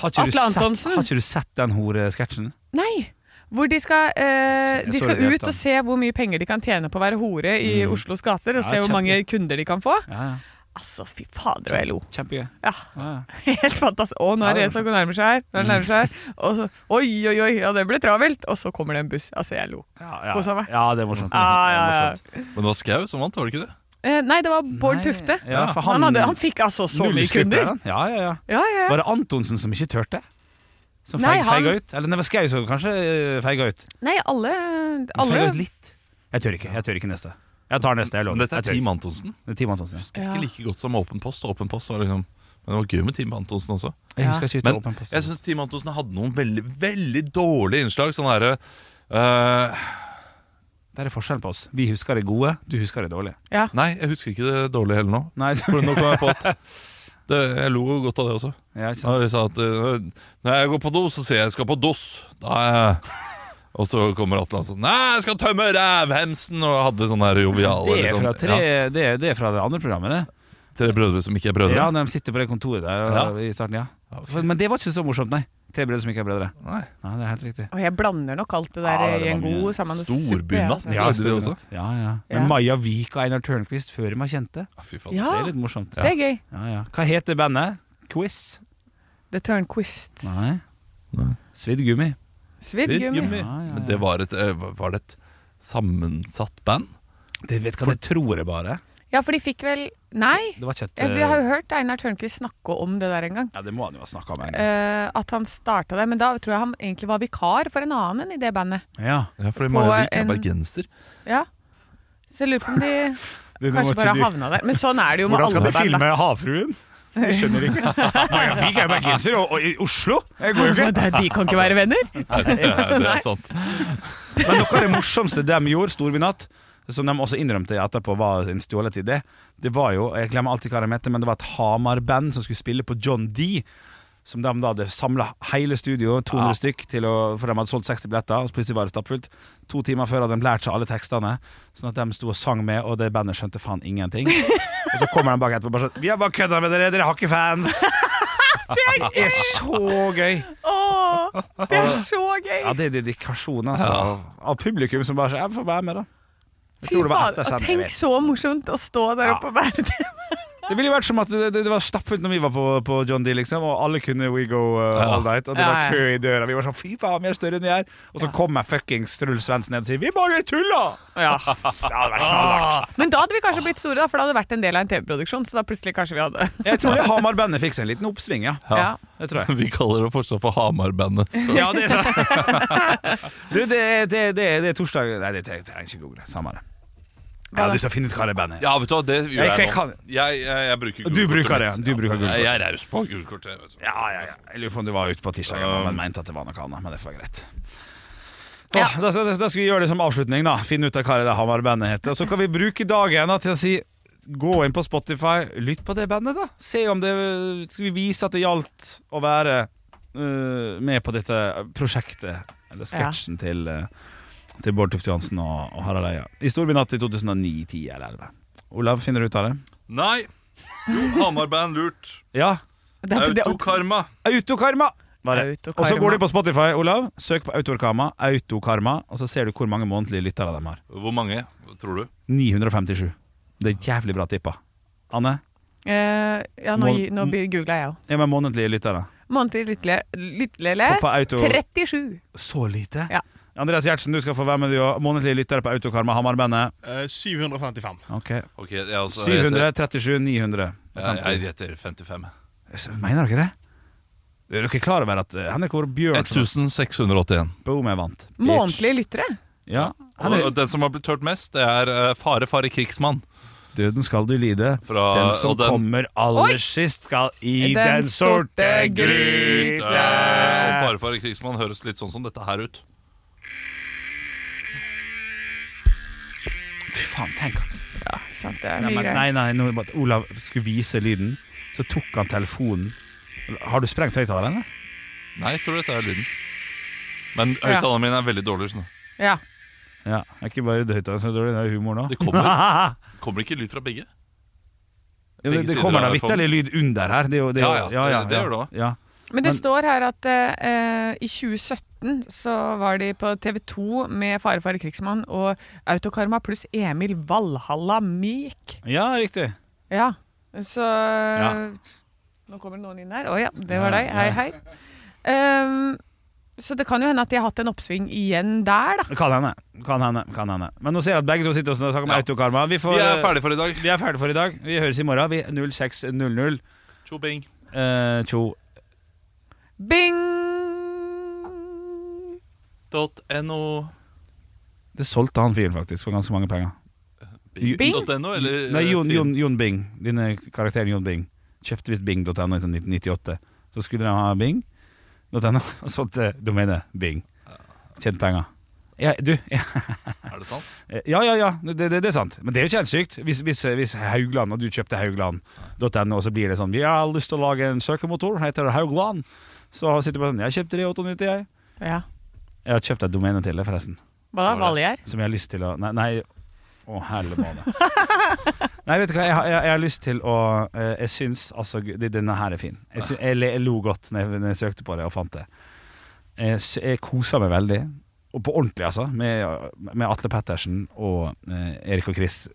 [SPEAKER 2] Har ikke, du
[SPEAKER 3] Atle
[SPEAKER 2] sett,
[SPEAKER 3] Antonsen.
[SPEAKER 2] har ikke du sett den horesketsjen?
[SPEAKER 3] Nei! Hvor de skal, eh,
[SPEAKER 2] Jeg
[SPEAKER 3] de
[SPEAKER 2] så
[SPEAKER 3] skal
[SPEAKER 2] det i
[SPEAKER 3] ut og
[SPEAKER 2] etterhånd. Mm.
[SPEAKER 3] se hvor mye penger de kan tjene på å være hore i Oslos gater, og
[SPEAKER 2] Ja,
[SPEAKER 3] se hvor
[SPEAKER 2] kjempe.
[SPEAKER 3] mange kunder de kan få.
[SPEAKER 2] Ja, ja.
[SPEAKER 3] Altså, fy fader, og jeg lo.
[SPEAKER 2] Kjempegøy.
[SPEAKER 3] Ja,
[SPEAKER 2] Ja, ja.
[SPEAKER 3] helt fantastisk. Og nå er det en som nærmer seg her, nå er det nærmer seg her.
[SPEAKER 2] Mm.
[SPEAKER 3] Og så, oi, oi, oi, ja, det ble travelt. Og så kommer det en buss. Altså, jeg lo.
[SPEAKER 2] Ja, ja.
[SPEAKER 3] Kosa meg.
[SPEAKER 2] ja, det er morsomt. Det
[SPEAKER 3] Ja,
[SPEAKER 2] er
[SPEAKER 3] Ah, ja, ja.
[SPEAKER 2] morsomt.
[SPEAKER 4] Men det var Skau som vant, var det ikke det?
[SPEAKER 3] Eh, nei, det var Bård
[SPEAKER 2] Nei,
[SPEAKER 3] Tufte.
[SPEAKER 2] ja, for
[SPEAKER 3] han,
[SPEAKER 2] han-
[SPEAKER 3] hadde, han fikk altså så mye
[SPEAKER 2] Nullskript er
[SPEAKER 3] kunder.
[SPEAKER 2] han. Ja, ja, ja.
[SPEAKER 3] Ja, ja, ja.
[SPEAKER 2] Var det Antonsen som ikke turte? Som
[SPEAKER 3] Nei,
[SPEAKER 2] feig,
[SPEAKER 3] han-
[SPEAKER 2] feiga ut? Eller det var Skau som kanskje eh, feiga ut?
[SPEAKER 3] Nei, alle,
[SPEAKER 2] Men
[SPEAKER 3] alle
[SPEAKER 2] feiga ut litt. Jeg tør ikke. Jeg tør ikke neste. Jeg tar neste.
[SPEAKER 4] Men
[SPEAKER 2] Jeg lover.
[SPEAKER 4] dette er
[SPEAKER 2] Jeg tør
[SPEAKER 4] Team
[SPEAKER 2] ikke.
[SPEAKER 4] Antonsen.
[SPEAKER 2] Det er Team Antonsen. Ja.
[SPEAKER 4] Ikke like godt som Åpen post. Åpen post var liksom men det var gøy med Team Antonsen også.
[SPEAKER 2] Jeg husker ikke
[SPEAKER 4] Men
[SPEAKER 2] ut åpen post.
[SPEAKER 4] jeg syns Team Antonsen hadde noen veldig veldig dårlige innslag. Sånn herre eh,
[SPEAKER 2] Der er forskjellen på oss. Vi husker det gode, du husker det dårlige.
[SPEAKER 3] ja.
[SPEAKER 4] Nei, jeg husker ikke det dårlige heller nå.
[SPEAKER 2] Nei,
[SPEAKER 4] For nå kom jeg på at det, Jeg lo godt av det også.
[SPEAKER 2] ja, ikke sant.
[SPEAKER 4] Og jeg sa at eh, når jeg går på do, så sier jeg jeg skal på dos. Da er jeg og så kommer Atle og sier Nei, jeg skal tømme rævhemsen! Og hadde sånne her joviale
[SPEAKER 2] Det er fra,
[SPEAKER 4] liksom,
[SPEAKER 2] tre,
[SPEAKER 4] ja,
[SPEAKER 2] det, er, det er fra det andre programmet, det.
[SPEAKER 4] tre brødre som ikke er brødre.
[SPEAKER 2] Ja, når de sitter på det kontoret der og, i starten, ja.
[SPEAKER 4] Ok.
[SPEAKER 2] Men det var ikke så morsomt, nei. Tre brødre som ikke er brødre.
[SPEAKER 4] Nei,
[SPEAKER 2] Nei, det er helt riktig.
[SPEAKER 3] Og jeg blander nok alt det der
[SPEAKER 2] Ja, det
[SPEAKER 3] i en
[SPEAKER 2] var mye.
[SPEAKER 3] god sammen.
[SPEAKER 4] Storbynatt.
[SPEAKER 3] Ja, altså.
[SPEAKER 4] Ja, det
[SPEAKER 2] stemmer
[SPEAKER 4] også.
[SPEAKER 2] det. ja, ja. Men
[SPEAKER 3] Ja.
[SPEAKER 2] Maja Vik og Einar Tørnquist, før de var kjente.
[SPEAKER 4] ah, fy faen.
[SPEAKER 3] ja.
[SPEAKER 2] Det er litt morsomt.
[SPEAKER 3] det er gøy.
[SPEAKER 2] Ja, ja. Hva heter bandet? Quiz?
[SPEAKER 3] The Turnquists.
[SPEAKER 2] Nei.
[SPEAKER 4] Nei.
[SPEAKER 2] Svidd gummi.
[SPEAKER 3] Svidd gummi.
[SPEAKER 2] Ja, ja, ja.
[SPEAKER 4] Men det var, et, eh, var det et sammensatt band?
[SPEAKER 2] Det vet hva det tror jeg bare.
[SPEAKER 3] Ja, for de fikk vel Nei!
[SPEAKER 2] Det var ikke et eh,
[SPEAKER 3] Jeg, vi har jo hørt Einar Tørnquist snakke om det der en gang.
[SPEAKER 2] Ja, det må han jo ha snakka om en gang.
[SPEAKER 3] Eh, at han starta det, men da tror jeg han egentlig var vikar for en annen enn i det bandet.
[SPEAKER 2] Ja.
[SPEAKER 4] Ja, fordi
[SPEAKER 3] På
[SPEAKER 4] Maja Vik er
[SPEAKER 3] en-
[SPEAKER 4] bergenser.
[SPEAKER 3] Ja. Så jeg lurer på om de kanskje bare havna der. Men sånn er det jo med
[SPEAKER 2] Hvordan skal
[SPEAKER 3] alle
[SPEAKER 2] du
[SPEAKER 3] band. da.
[SPEAKER 2] filme Havfruen? Jeg skjønner ikke. Maja Vik er bergenser, og, og i Oslo? Jeg går jo ikke.
[SPEAKER 3] Men det- De kan ikke være venner!
[SPEAKER 4] Ja, det
[SPEAKER 3] Nei.
[SPEAKER 4] er sant.
[SPEAKER 2] Men noe av det morsomste de gjorde Storbynatt, som de også innrømte etterpå var en stjålet idé, det var jo Jeg glemmer alltid hva de heter, men det var et Hamar-band som skulle spille på John D. Som de da hadde samla hele studio, 200 stykk, til å, for de hadde solgt 60 billetter. Og så plutselig var det stappfullt. To timer før hadde de lært seg alle tekstene, sånn at de sto og sang med, og det bandet skjønte faen ingenting. Og så kommer de bak etterpå og bare sånn Vi har bare kødda med dere, dere har ikke fans! Det er så gøy!
[SPEAKER 3] Åh, det er så
[SPEAKER 2] Ja,
[SPEAKER 3] gøy!
[SPEAKER 2] det er dedikasjon altså,
[SPEAKER 4] Ja.
[SPEAKER 2] av, av publikum som bare sier 'jeg får være med', da. Jeg
[SPEAKER 3] Fy
[SPEAKER 2] tror det var
[SPEAKER 3] faen,
[SPEAKER 2] etter
[SPEAKER 3] og
[SPEAKER 2] sending, jeg
[SPEAKER 3] tenk
[SPEAKER 2] vet.
[SPEAKER 3] så morsomt å stå der oppe og være det.
[SPEAKER 2] Det ville jo vært som at det, det, det var stappfullt når vi var på, på John D, liksom, og alle kunne We Go uh, All Night, og det
[SPEAKER 3] Ja,
[SPEAKER 2] var
[SPEAKER 3] ja.
[SPEAKER 2] kø i døra. Vi var sånn 'fy faen, vi er større enn vi er', og så
[SPEAKER 3] Ja.
[SPEAKER 2] kommer fuckings Truls Svendsen ned og sier 'vi bare tulla'! Det hadde vært knallhardt.
[SPEAKER 3] Men da hadde vi kanskje blitt store, da, for da hadde det vært en del av en TV-produksjon. Så da plutselig kanskje vi hadde
[SPEAKER 2] Jeg tror det Hamar-bandet fikk seg en liten oppsving, ja.
[SPEAKER 3] Ja.
[SPEAKER 2] Det tror jeg.
[SPEAKER 4] Vi kaller det fortsatt for Hamar-bandet. så-
[SPEAKER 2] Ja, det er sant. du, det, er- det, er- det, er- det er torsdag Nei, det trenger jeg ikke google. Samme det. Jeg hadde lyst til å finne ut hva det bandet er.
[SPEAKER 4] Ja, vet du hva, det gjør
[SPEAKER 2] Jeg-
[SPEAKER 4] jeg,
[SPEAKER 2] jeg
[SPEAKER 4] nå.
[SPEAKER 2] kan-
[SPEAKER 4] Jeg, jeg, jeg bruker
[SPEAKER 2] Du
[SPEAKER 4] gulkortet
[SPEAKER 2] bruker
[SPEAKER 4] mitt.
[SPEAKER 2] det, du bruker
[SPEAKER 4] Jeg, jeg er raus på gulkortet. vet du.
[SPEAKER 2] Ja, ja, ja. Jeg lurer på om du var ute på tirsdag,
[SPEAKER 4] Um.
[SPEAKER 2] men mente at det var noe annet. Men det får være greit.
[SPEAKER 3] Ja.
[SPEAKER 2] Åh, Da, da, da skal vi gjøre det som avslutning, da. Finne ut av hva det Hamar-bandet heter. Og så kan vi bruke dagen da, til å si Gå inn på Spotify, lytt på det bandet, da. Se om det Skal vi vise at det gjaldt å være øh, med på dette prosjektet, eller sketsjen til, øh, til Bård Tufte Johansen og, og Harald Eia. I Storbynatt i 2009, 10 eller 11. Olav, finner du ut av det?
[SPEAKER 4] Nei! Jo, Hamar-band lurt.
[SPEAKER 2] Ja.
[SPEAKER 3] Det er- det-
[SPEAKER 4] Autokarma.
[SPEAKER 2] Autokarma! Var det.
[SPEAKER 3] Autokarma.
[SPEAKER 2] Og så går du på Spotify, Olav. Søk på Autokarma, Autokarma, og så ser du hvor mange månedlige lyttere de har.
[SPEAKER 4] Hvor mange, tror du?
[SPEAKER 2] 957. Det er jævlig bra tippa. Anne,
[SPEAKER 3] Eh, ja, nå, gi- nå googla jeg òg.
[SPEAKER 2] er med månedlige lyttere.
[SPEAKER 3] Månedlig lyttelele
[SPEAKER 2] Og
[SPEAKER 3] lyttelele,
[SPEAKER 2] på auto...
[SPEAKER 3] 37.
[SPEAKER 2] Så lite?
[SPEAKER 3] Eh, Ja.
[SPEAKER 2] Andreas Gjertsen, du skal få være med, du òg. Månedlige lyttere på Autokarma Hamar-bandet.
[SPEAKER 5] Eh, 755.
[SPEAKER 2] Ok.
[SPEAKER 4] Ok, jeg, altså, jeg heter-
[SPEAKER 2] 737 900.
[SPEAKER 4] Jeg, jeg heter 55.
[SPEAKER 2] Mener dere det? Er dere klar over at eh, Henrik Åre Bjørnson
[SPEAKER 4] 1681.
[SPEAKER 2] Boom er vant?
[SPEAKER 3] Månedlige lyttere.
[SPEAKER 2] Ja.
[SPEAKER 4] Og,
[SPEAKER 2] Henrik,
[SPEAKER 4] og den som har blitt hørt mest, det er eh, Fare Fare Krigsmann.
[SPEAKER 2] døden skal du lide.
[SPEAKER 4] Fra,
[SPEAKER 2] Den som
[SPEAKER 4] og den-
[SPEAKER 2] kommer aller
[SPEAKER 3] Oi!
[SPEAKER 2] sist, skal i
[SPEAKER 3] Den
[SPEAKER 2] den, sorte
[SPEAKER 3] sorte
[SPEAKER 4] Eh, og
[SPEAKER 2] gryte.
[SPEAKER 4] Fare Fare Krigsmann høres litt sånn som dette her ut.
[SPEAKER 2] Fy faen, tenk at
[SPEAKER 3] Ja, sant, det er
[SPEAKER 2] nei,
[SPEAKER 3] mye
[SPEAKER 2] men,
[SPEAKER 3] greier.
[SPEAKER 2] nei, nei, nå, bare at Olav skulle vise lyden, så tok han telefonen. Har du sprengt høyttaleren? eller?
[SPEAKER 4] Nei, jeg tror dette er lyden. Men høyttalerne mine er veldig dårlige. Sånn.
[SPEAKER 3] Ja.
[SPEAKER 2] Ja. Er ikke bare høyttaleren så dårlig, det er humor nå.
[SPEAKER 4] Det kommer, kommer det ikke lyd fra begge?
[SPEAKER 2] Ja, det, det
[SPEAKER 4] sider
[SPEAKER 2] kommer da
[SPEAKER 4] av
[SPEAKER 2] vitterlig lyd under her. Det, er jo- det, er jo-
[SPEAKER 4] Ja, ja, det- det gjør det også.
[SPEAKER 2] Ja.
[SPEAKER 3] Men det
[SPEAKER 2] Men-
[SPEAKER 3] står her at eh, i 2017 så var de på TV 2 med Fare Fare Krigsmann og Autokarma pluss Emil Valhalla Mik.
[SPEAKER 2] ja, riktig.
[SPEAKER 3] Ja, så
[SPEAKER 2] Ja.
[SPEAKER 3] Nå kommer det noen inn her. Å ja, det var
[SPEAKER 2] Ja,
[SPEAKER 3] deg. Hei,
[SPEAKER 2] ja.
[SPEAKER 3] hei. Ehm, så det kan jo hende at de har hatt en oppsving igjen der, da.
[SPEAKER 2] Det Kan hende. Kan hende. Kan hende. Men nå ser jeg at begge to sitter og snakker om
[SPEAKER 4] Ja.
[SPEAKER 2] autokarma. Vi, får, eh,
[SPEAKER 4] Vi er ferdige for i dag.
[SPEAKER 2] vi er ferdige for i dag. Vi høres i morgen. Vi 06.00.
[SPEAKER 4] Tjo bing.
[SPEAKER 2] Eh, tjo.
[SPEAKER 3] Bing!
[SPEAKER 4] Dot no.
[SPEAKER 2] Det solgte han fyren faktisk for ganske mange penger.
[SPEAKER 4] Bing. Dot no, eller
[SPEAKER 2] Nei,
[SPEAKER 4] eh,
[SPEAKER 2] Jon,
[SPEAKER 4] fin-
[SPEAKER 2] Jon, Jon Bing, denne karakteren Jon Bing, kjøpte visst bing.no i sånn 1998. Så skulle de ha bing.no, og så til domenet bing. Tjent penger. Ja, du, ja,
[SPEAKER 4] Er det sant?
[SPEAKER 2] ja, ja, ja det, det, det er sant. Men det er jo ikke helt sykt. Hvis, hvis, hvis Haugland, og du kjøpte Haugland.no, og så blir det sånn Vi har lyst til å lage en søkemotor, heter det Haugland. Så sitter du bare sånn Jeg kjøpte det i 98, jeg.
[SPEAKER 3] Ja.
[SPEAKER 2] Jeg har kjøpt et domene til det, forresten.
[SPEAKER 3] Hva da? Valgjerd?
[SPEAKER 2] Som jeg har lyst til å Nei, nei å hellebane. nei, vet du hva, jeg, har- jeg, jeg har lyst til å eh, Jeg syns altså gud, det- Denne her er fin. Jeg, sy- jeg, le- jeg lo godt når jeg, når jeg søkte på det og fant det. Jeg, sy- jeg kosa meg veldig, og på ordentlig, altså, med, med Atle Pettersen og eh, Erik og Chris.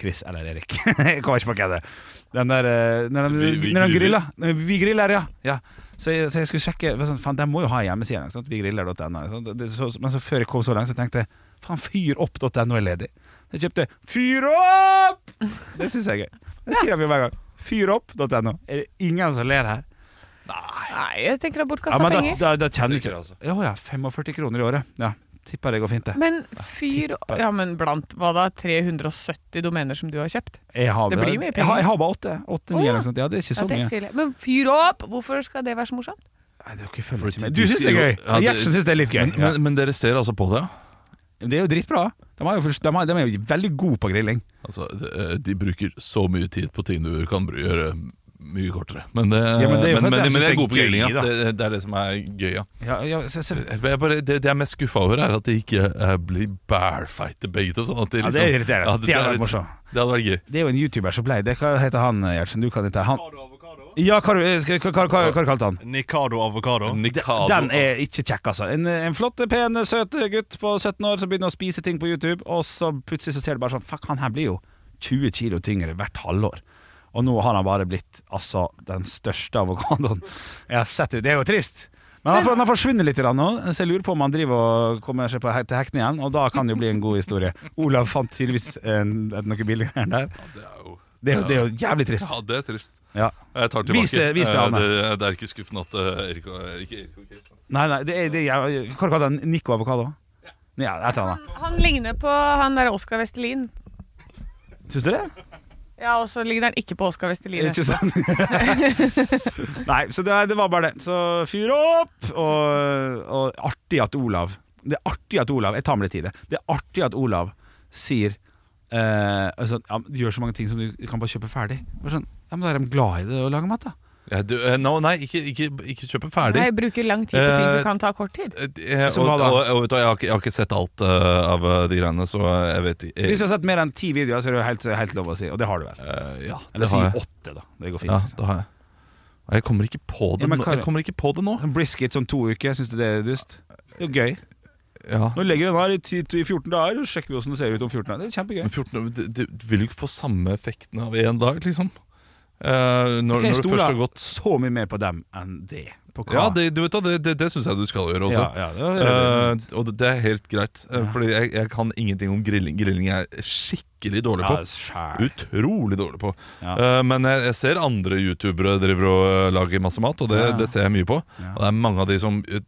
[SPEAKER 2] Chris eller Erik. jeg kommer ikke på hva det er. Den der eh, Når de,
[SPEAKER 4] Vi- vi
[SPEAKER 2] når de
[SPEAKER 4] griller.
[SPEAKER 2] griller. Når Vi griller, ja. ja. Så, jeg, så jeg skulle sjekke hva sånn, Faen, den må jo ha en hjemmeside. ikke sant? Vigriller.no. ikke sant? Det- det- så- Men så før jeg kom så langt, så tenkte jeg faen, fyropp.no er ledig. Så Jeg kjøpte Fyr opp! Det syns jeg er gøy. Det sier de jo hver gang. Fyropp.no. Er det ingen som ler her?
[SPEAKER 3] Nei, jeg tenker det er
[SPEAKER 2] Ja,
[SPEAKER 3] bortkasta
[SPEAKER 2] men da,
[SPEAKER 3] penger.
[SPEAKER 2] da, da kjenner jeg
[SPEAKER 4] Tenker
[SPEAKER 2] ikke
[SPEAKER 4] jeg, altså.
[SPEAKER 2] Ja, ja, 45 kroner i året. Ja, tipper det går fint, det.
[SPEAKER 3] Men fyr Ja, men blant hva da? 370 domener som du har kjøpt?
[SPEAKER 2] Jeg har,
[SPEAKER 3] Det blir mye
[SPEAKER 2] Jeg
[SPEAKER 3] penger.
[SPEAKER 2] har, jeg har bare åtte. Åtte,
[SPEAKER 3] Å,
[SPEAKER 2] ni
[SPEAKER 3] ja.
[SPEAKER 2] eller noe sånt. Ja, det er ikke
[SPEAKER 3] Ja,
[SPEAKER 2] så
[SPEAKER 3] det er
[SPEAKER 2] mye.
[SPEAKER 3] ikke så ille. Men fyr opp! Hvorfor skal det være så morsomt?
[SPEAKER 2] Nei, dere følger
[SPEAKER 4] Fordi
[SPEAKER 2] ikke med.
[SPEAKER 4] de
[SPEAKER 2] Du syns det
[SPEAKER 4] sier
[SPEAKER 2] er
[SPEAKER 4] jo-
[SPEAKER 2] gøy.
[SPEAKER 4] Ja, det-
[SPEAKER 2] Gjertsen syns det er litt gøy.
[SPEAKER 4] Men,
[SPEAKER 2] Ja.
[SPEAKER 4] men, men dere ser altså på det, ja?
[SPEAKER 2] Det er jo dritbra. De, har jo fullst- de, har, de er jo veldig gode på grilling.
[SPEAKER 4] Altså, de, eh, de bruker så mye tid på ting du kan bry- gjøre mye kortere. Men det,
[SPEAKER 2] Ja, men det er jo for at
[SPEAKER 4] men,
[SPEAKER 2] jeg
[SPEAKER 4] men,
[SPEAKER 2] synes
[SPEAKER 4] jeg
[SPEAKER 2] det
[SPEAKER 4] er
[SPEAKER 2] er
[SPEAKER 4] god på grilling.
[SPEAKER 2] gøy,
[SPEAKER 4] Ja.
[SPEAKER 2] da.
[SPEAKER 4] Det, det er det som er gøy, ja.
[SPEAKER 2] Ja, ja, så, så,
[SPEAKER 4] Jeg jeg bare, det, det jeg er mest skuffa over, er at de ikke eh, blir bælfighte begge to. Sånn at de
[SPEAKER 2] ja,
[SPEAKER 4] liksom,
[SPEAKER 2] det er irriterende.
[SPEAKER 4] Ja,
[SPEAKER 2] det,
[SPEAKER 4] det,
[SPEAKER 2] er
[SPEAKER 4] litt-
[SPEAKER 2] morsomt.
[SPEAKER 4] det hadde vært gøy.
[SPEAKER 2] det er jo en YouTuber som ble det. Hva heter han, Gjertsen? Du kan dette. Han,
[SPEAKER 5] Avokado, avokado.
[SPEAKER 2] Ja, hva, hva, hva, hva, hva kalte han?
[SPEAKER 5] Nikado avokado.
[SPEAKER 4] Nikado.
[SPEAKER 2] Den er ikke kjekk, altså. En, en flott, pen, søt gutt på 17 år som begynner å spise ting på YouTube, og så plutselig så ser du bare sånn Fuck, han her blir jo 20 kilo tyngre hvert halvår. Og nå har han bare blitt altså den største avokadoen jeg har sett. Det er jo trist. Men han, har- han har forsvunnet litt grann nå, så jeg lurer på om han driver og kommer seg på hek til hektene igjen. Og da kan det jo bli en god historie. Olav fant tydeligvis en, noen bilder der.
[SPEAKER 4] Det er jo
[SPEAKER 2] Det er, jo, det er jo jævlig trist.
[SPEAKER 4] Ja, det er trist.
[SPEAKER 2] Ja.
[SPEAKER 4] Jeg tar tilbake.
[SPEAKER 2] Vis det- vis det,
[SPEAKER 4] Eh,
[SPEAKER 2] Anne.
[SPEAKER 4] det, det er ikke skuffende at eh, Erik og, ikke Erik og Chris.
[SPEAKER 2] Nei, nei, det er, det er, Hva kalte han Nico Avokado? Ja, et eller annet.
[SPEAKER 3] Han ligner på han der Oskar Vestelin.
[SPEAKER 2] Syns du det?
[SPEAKER 3] Ja, og så ligner han ikke på Oskar Vestelin.
[SPEAKER 2] Ikke sant? Nei, så det, er- det var bare det. Så fyr opp! Og, og artig at Olav Det er artig at Olav Jeg tar med litt tid i det. Det er artig at Olav sier eh, altså, ja, men Du gjør så mange ting som du kan bare kjøpe ferdig. Bare sånn, ja, men Da er de glad i det å lage mat, da.
[SPEAKER 4] Ja, du, eh, no, nei, ikke, ikke, ikke kjøpe ferdig.
[SPEAKER 3] Nei, jeg bruker lang tid på ting
[SPEAKER 4] Eh,
[SPEAKER 3] som kan ta kort tid.
[SPEAKER 4] Eh, eh,
[SPEAKER 2] Som
[SPEAKER 4] og,
[SPEAKER 2] hva da?
[SPEAKER 4] og, og, vet du hva, jeg, har ikke, jeg har ikke sett alt eh, av eh, de greiene, så eh, jeg vet ikke
[SPEAKER 2] Hvis du har sett mer enn ti videoer, så er det jo helt, helt lov å si. Og det har du vel.
[SPEAKER 4] Eh, Ja, det
[SPEAKER 2] Eller si
[SPEAKER 4] har jeg.
[SPEAKER 2] åtte, da. Det går fint.
[SPEAKER 4] Ja,
[SPEAKER 2] liksom.
[SPEAKER 4] det har jeg. Og Jeg kommer ikke på det,
[SPEAKER 2] Ja, men
[SPEAKER 4] nå-
[SPEAKER 2] hva-
[SPEAKER 4] jeg kommer ikke på det nå.
[SPEAKER 2] En Sånn Brisket som to uker, syns du det er dust? Det er jo gøy.
[SPEAKER 4] Ja.
[SPEAKER 2] Nå legger vi den her i, 10 i 14 dager, og sjekker vi hvordan det ser ut om 14 dager. Det er kjempegøy.
[SPEAKER 4] Men 14, du, du du vil jo ikke få samme effekten av én dag, liksom. Eh, når,
[SPEAKER 2] Jeg
[SPEAKER 4] når det først
[SPEAKER 2] stoler
[SPEAKER 4] har gått
[SPEAKER 2] så mye mer på dem enn det. På hva?
[SPEAKER 4] Ja, det, du vet da, det, det, det syns jeg du skal gjøre også.
[SPEAKER 2] ja, ja, det var-
[SPEAKER 4] Eh, og det, det er helt greit, eh, Fordi jeg, jeg kan ingenting om grilling. Grilling er jeg skikkelig dårlig
[SPEAKER 2] ja,
[SPEAKER 4] på.
[SPEAKER 2] skjær.
[SPEAKER 4] Utrolig dårlig på.
[SPEAKER 2] Ja.
[SPEAKER 4] Eh, men jeg, jeg ser andre youtubere driver og eh, lager masse mat, og det,
[SPEAKER 2] Ja.
[SPEAKER 4] det ser jeg mye på.
[SPEAKER 2] Ja.
[SPEAKER 4] Og det er mange av de som eh,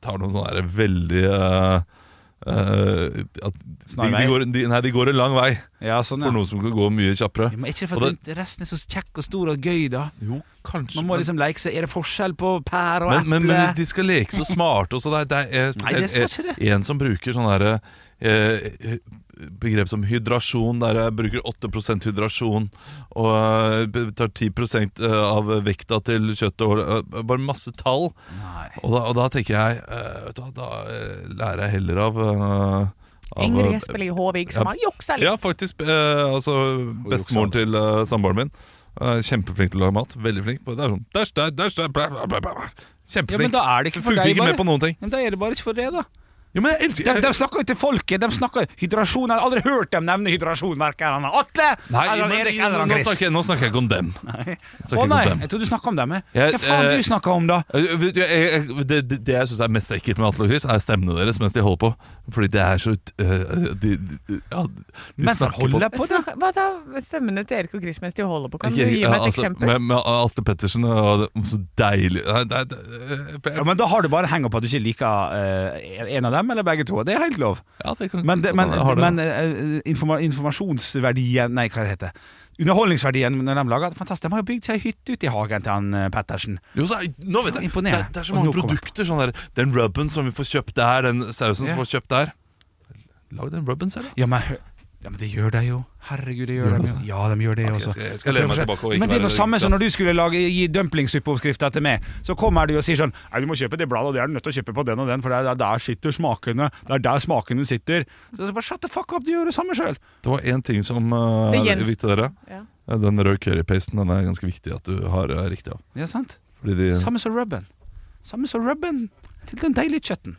[SPEAKER 4] tar noen sånne der veldig eh, eh, at de,
[SPEAKER 2] Snarvei.
[SPEAKER 4] de, går, de, nei, de går en lang vei
[SPEAKER 2] Ja, sånn,
[SPEAKER 4] for
[SPEAKER 2] ja.
[SPEAKER 4] noe som kan gå mye kjappere.
[SPEAKER 2] Ja, Men ikke
[SPEAKER 4] Og
[SPEAKER 2] for at resten er så kjekk og stor og gøy, da.
[SPEAKER 4] Jo, kanskje
[SPEAKER 2] Man må liksom leke seg. Er det forskjell på pære og
[SPEAKER 4] men, men, men
[SPEAKER 2] eple?
[SPEAKER 4] de skal leke så smarte. og så Det er, det er,
[SPEAKER 2] Nei, det skal ikke det.
[SPEAKER 4] En som bruker sånn derre eh, Begrep som hydrasjon, der jeg bruker 8 hydrasjon og eh, b- tar 10 av vekta til kjøttet og eh, Bare masse tall.
[SPEAKER 2] Nei.
[SPEAKER 4] Og da, og da tenker jeg eh, vet du, hva, Da eh, lærer jeg heller av, eh, av
[SPEAKER 3] Ingrid Espelid Håvig som
[SPEAKER 4] ja.
[SPEAKER 3] har juksa litt.
[SPEAKER 4] Ja, faktisk. Eh, altså Bestemoren til eh, samboeren min. Eh, kjempeflink til å lage mat. Veldig flink. Bare Det er sånn dæsj, der, dæsj, der, bla, bla, bla, bla.
[SPEAKER 2] Ja,
[SPEAKER 4] Kjempeflink.
[SPEAKER 2] men da er det ikke for
[SPEAKER 4] Funker
[SPEAKER 2] deg,
[SPEAKER 4] ikke
[SPEAKER 2] bare.
[SPEAKER 4] med på noen ting.
[SPEAKER 2] Men da er det bare ikke for det, da.
[SPEAKER 4] Jo, men jeg elsker
[SPEAKER 2] De, de snakker jo til folket. De snakker Hydrasjon Jeg har aldri hørt dem nevne hydrasjon, verken han Atle Altså,
[SPEAKER 4] Nei,
[SPEAKER 2] eller han
[SPEAKER 4] men,
[SPEAKER 2] Erik eller han
[SPEAKER 4] nå,
[SPEAKER 2] Chris.
[SPEAKER 4] snakker, jeg- nå snakker jeg ikke om dem. Jeg snakker
[SPEAKER 2] Å
[SPEAKER 4] ikke om
[SPEAKER 2] nei,
[SPEAKER 4] dem.
[SPEAKER 2] jeg trodde du snakka om dem. jeg.
[SPEAKER 4] Jeg-
[SPEAKER 2] Hva faen
[SPEAKER 4] eh,
[SPEAKER 2] du snakker om, da?
[SPEAKER 4] Jeg- jeg- jeg- Det, det, det jeg syns er mest ekkelt med Atle og Chris, er stemmene deres mens de holder på. Fordi det er så øh, de, de, ja, de
[SPEAKER 2] Mens han
[SPEAKER 4] snakker på
[SPEAKER 2] holder på, da?
[SPEAKER 3] Snakk- Hva da? Stemmene til Erik og Chris mens de holder på? Kan du
[SPEAKER 4] Ikke-
[SPEAKER 3] gi meg et
[SPEAKER 4] ja, altså,
[SPEAKER 3] eksempel?
[SPEAKER 4] Med, med Atle Pettersen og det, Så deilig Nei, det, er- det, jeg-
[SPEAKER 2] Ja, men Da har du bare henga på at du ikke liker eh, en av dem, eller begge to. Det er helt lov.
[SPEAKER 4] ja, det kan-
[SPEAKER 2] Men, det, men,
[SPEAKER 4] jeg har det.
[SPEAKER 2] men eh, informa informasjonsverdien Nei, hva det heter Underholdningsverdien når de lager Fantastisk, de har jo bygd seg ei hytte ute i hagen til han eh, Pettersen.
[SPEAKER 4] Jo, så, er- nå vet
[SPEAKER 2] Ja,
[SPEAKER 4] jeg, det,
[SPEAKER 2] imponerende.
[SPEAKER 4] er, det er så
[SPEAKER 2] Og
[SPEAKER 4] mange
[SPEAKER 2] nå kommer-
[SPEAKER 4] produkter sånn der, Den rubben som vi får kjøpt der Den sausen som
[SPEAKER 2] Ja.
[SPEAKER 4] vi får kjøpt der Lag den rubben selv da
[SPEAKER 2] Ja, men, hø- ja, men det gjør de jo. Herregud, det gjør,
[SPEAKER 4] Gjør
[SPEAKER 2] de
[SPEAKER 4] det
[SPEAKER 2] jo. Ja, de gjør det
[SPEAKER 4] Ok,
[SPEAKER 2] også.
[SPEAKER 4] skal jeg- skal jeg lene meg tilbake og ikke
[SPEAKER 2] men det er
[SPEAKER 4] være
[SPEAKER 2] det samme som
[SPEAKER 4] glass.
[SPEAKER 2] når du skulle lage, gi dumplingsuppeoppskrifta til meg. Så kommer du og sier sånn Nei, du må kjøpe det bladet, og det er du nødt til å kjøpe på den og den, for det er der, der sitter smakene. Det er der smakene sitter. Så bare shut the fuck up, du gjør det samme sjøl.
[SPEAKER 4] Det var en ting som eh,
[SPEAKER 3] Det
[SPEAKER 4] er
[SPEAKER 3] gjenst-
[SPEAKER 4] viktig dere
[SPEAKER 3] Ja.
[SPEAKER 4] Den røde currypasten Den er ganske viktig at du har eh, riktig av
[SPEAKER 2] Ja, sant?
[SPEAKER 4] Fordi de
[SPEAKER 2] Samme som rubben. Samme som rubben til den deilige kjøtten.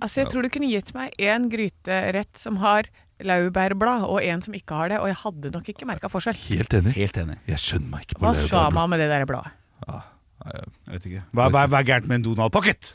[SPEAKER 3] Altså, jeg tror du kunne gitt meg én gryterett som har laurbærblad, og en som ikke har det, og jeg hadde nok ikke merka forskjell.
[SPEAKER 4] Helt enig
[SPEAKER 2] Helt enig.
[SPEAKER 4] Jeg skjønner meg ikke på
[SPEAKER 3] Hva
[SPEAKER 4] det.
[SPEAKER 3] skal man med det der bladet?
[SPEAKER 2] Jeg vet ikke. Hva, hva, hva er gærent med en Donald Pocket?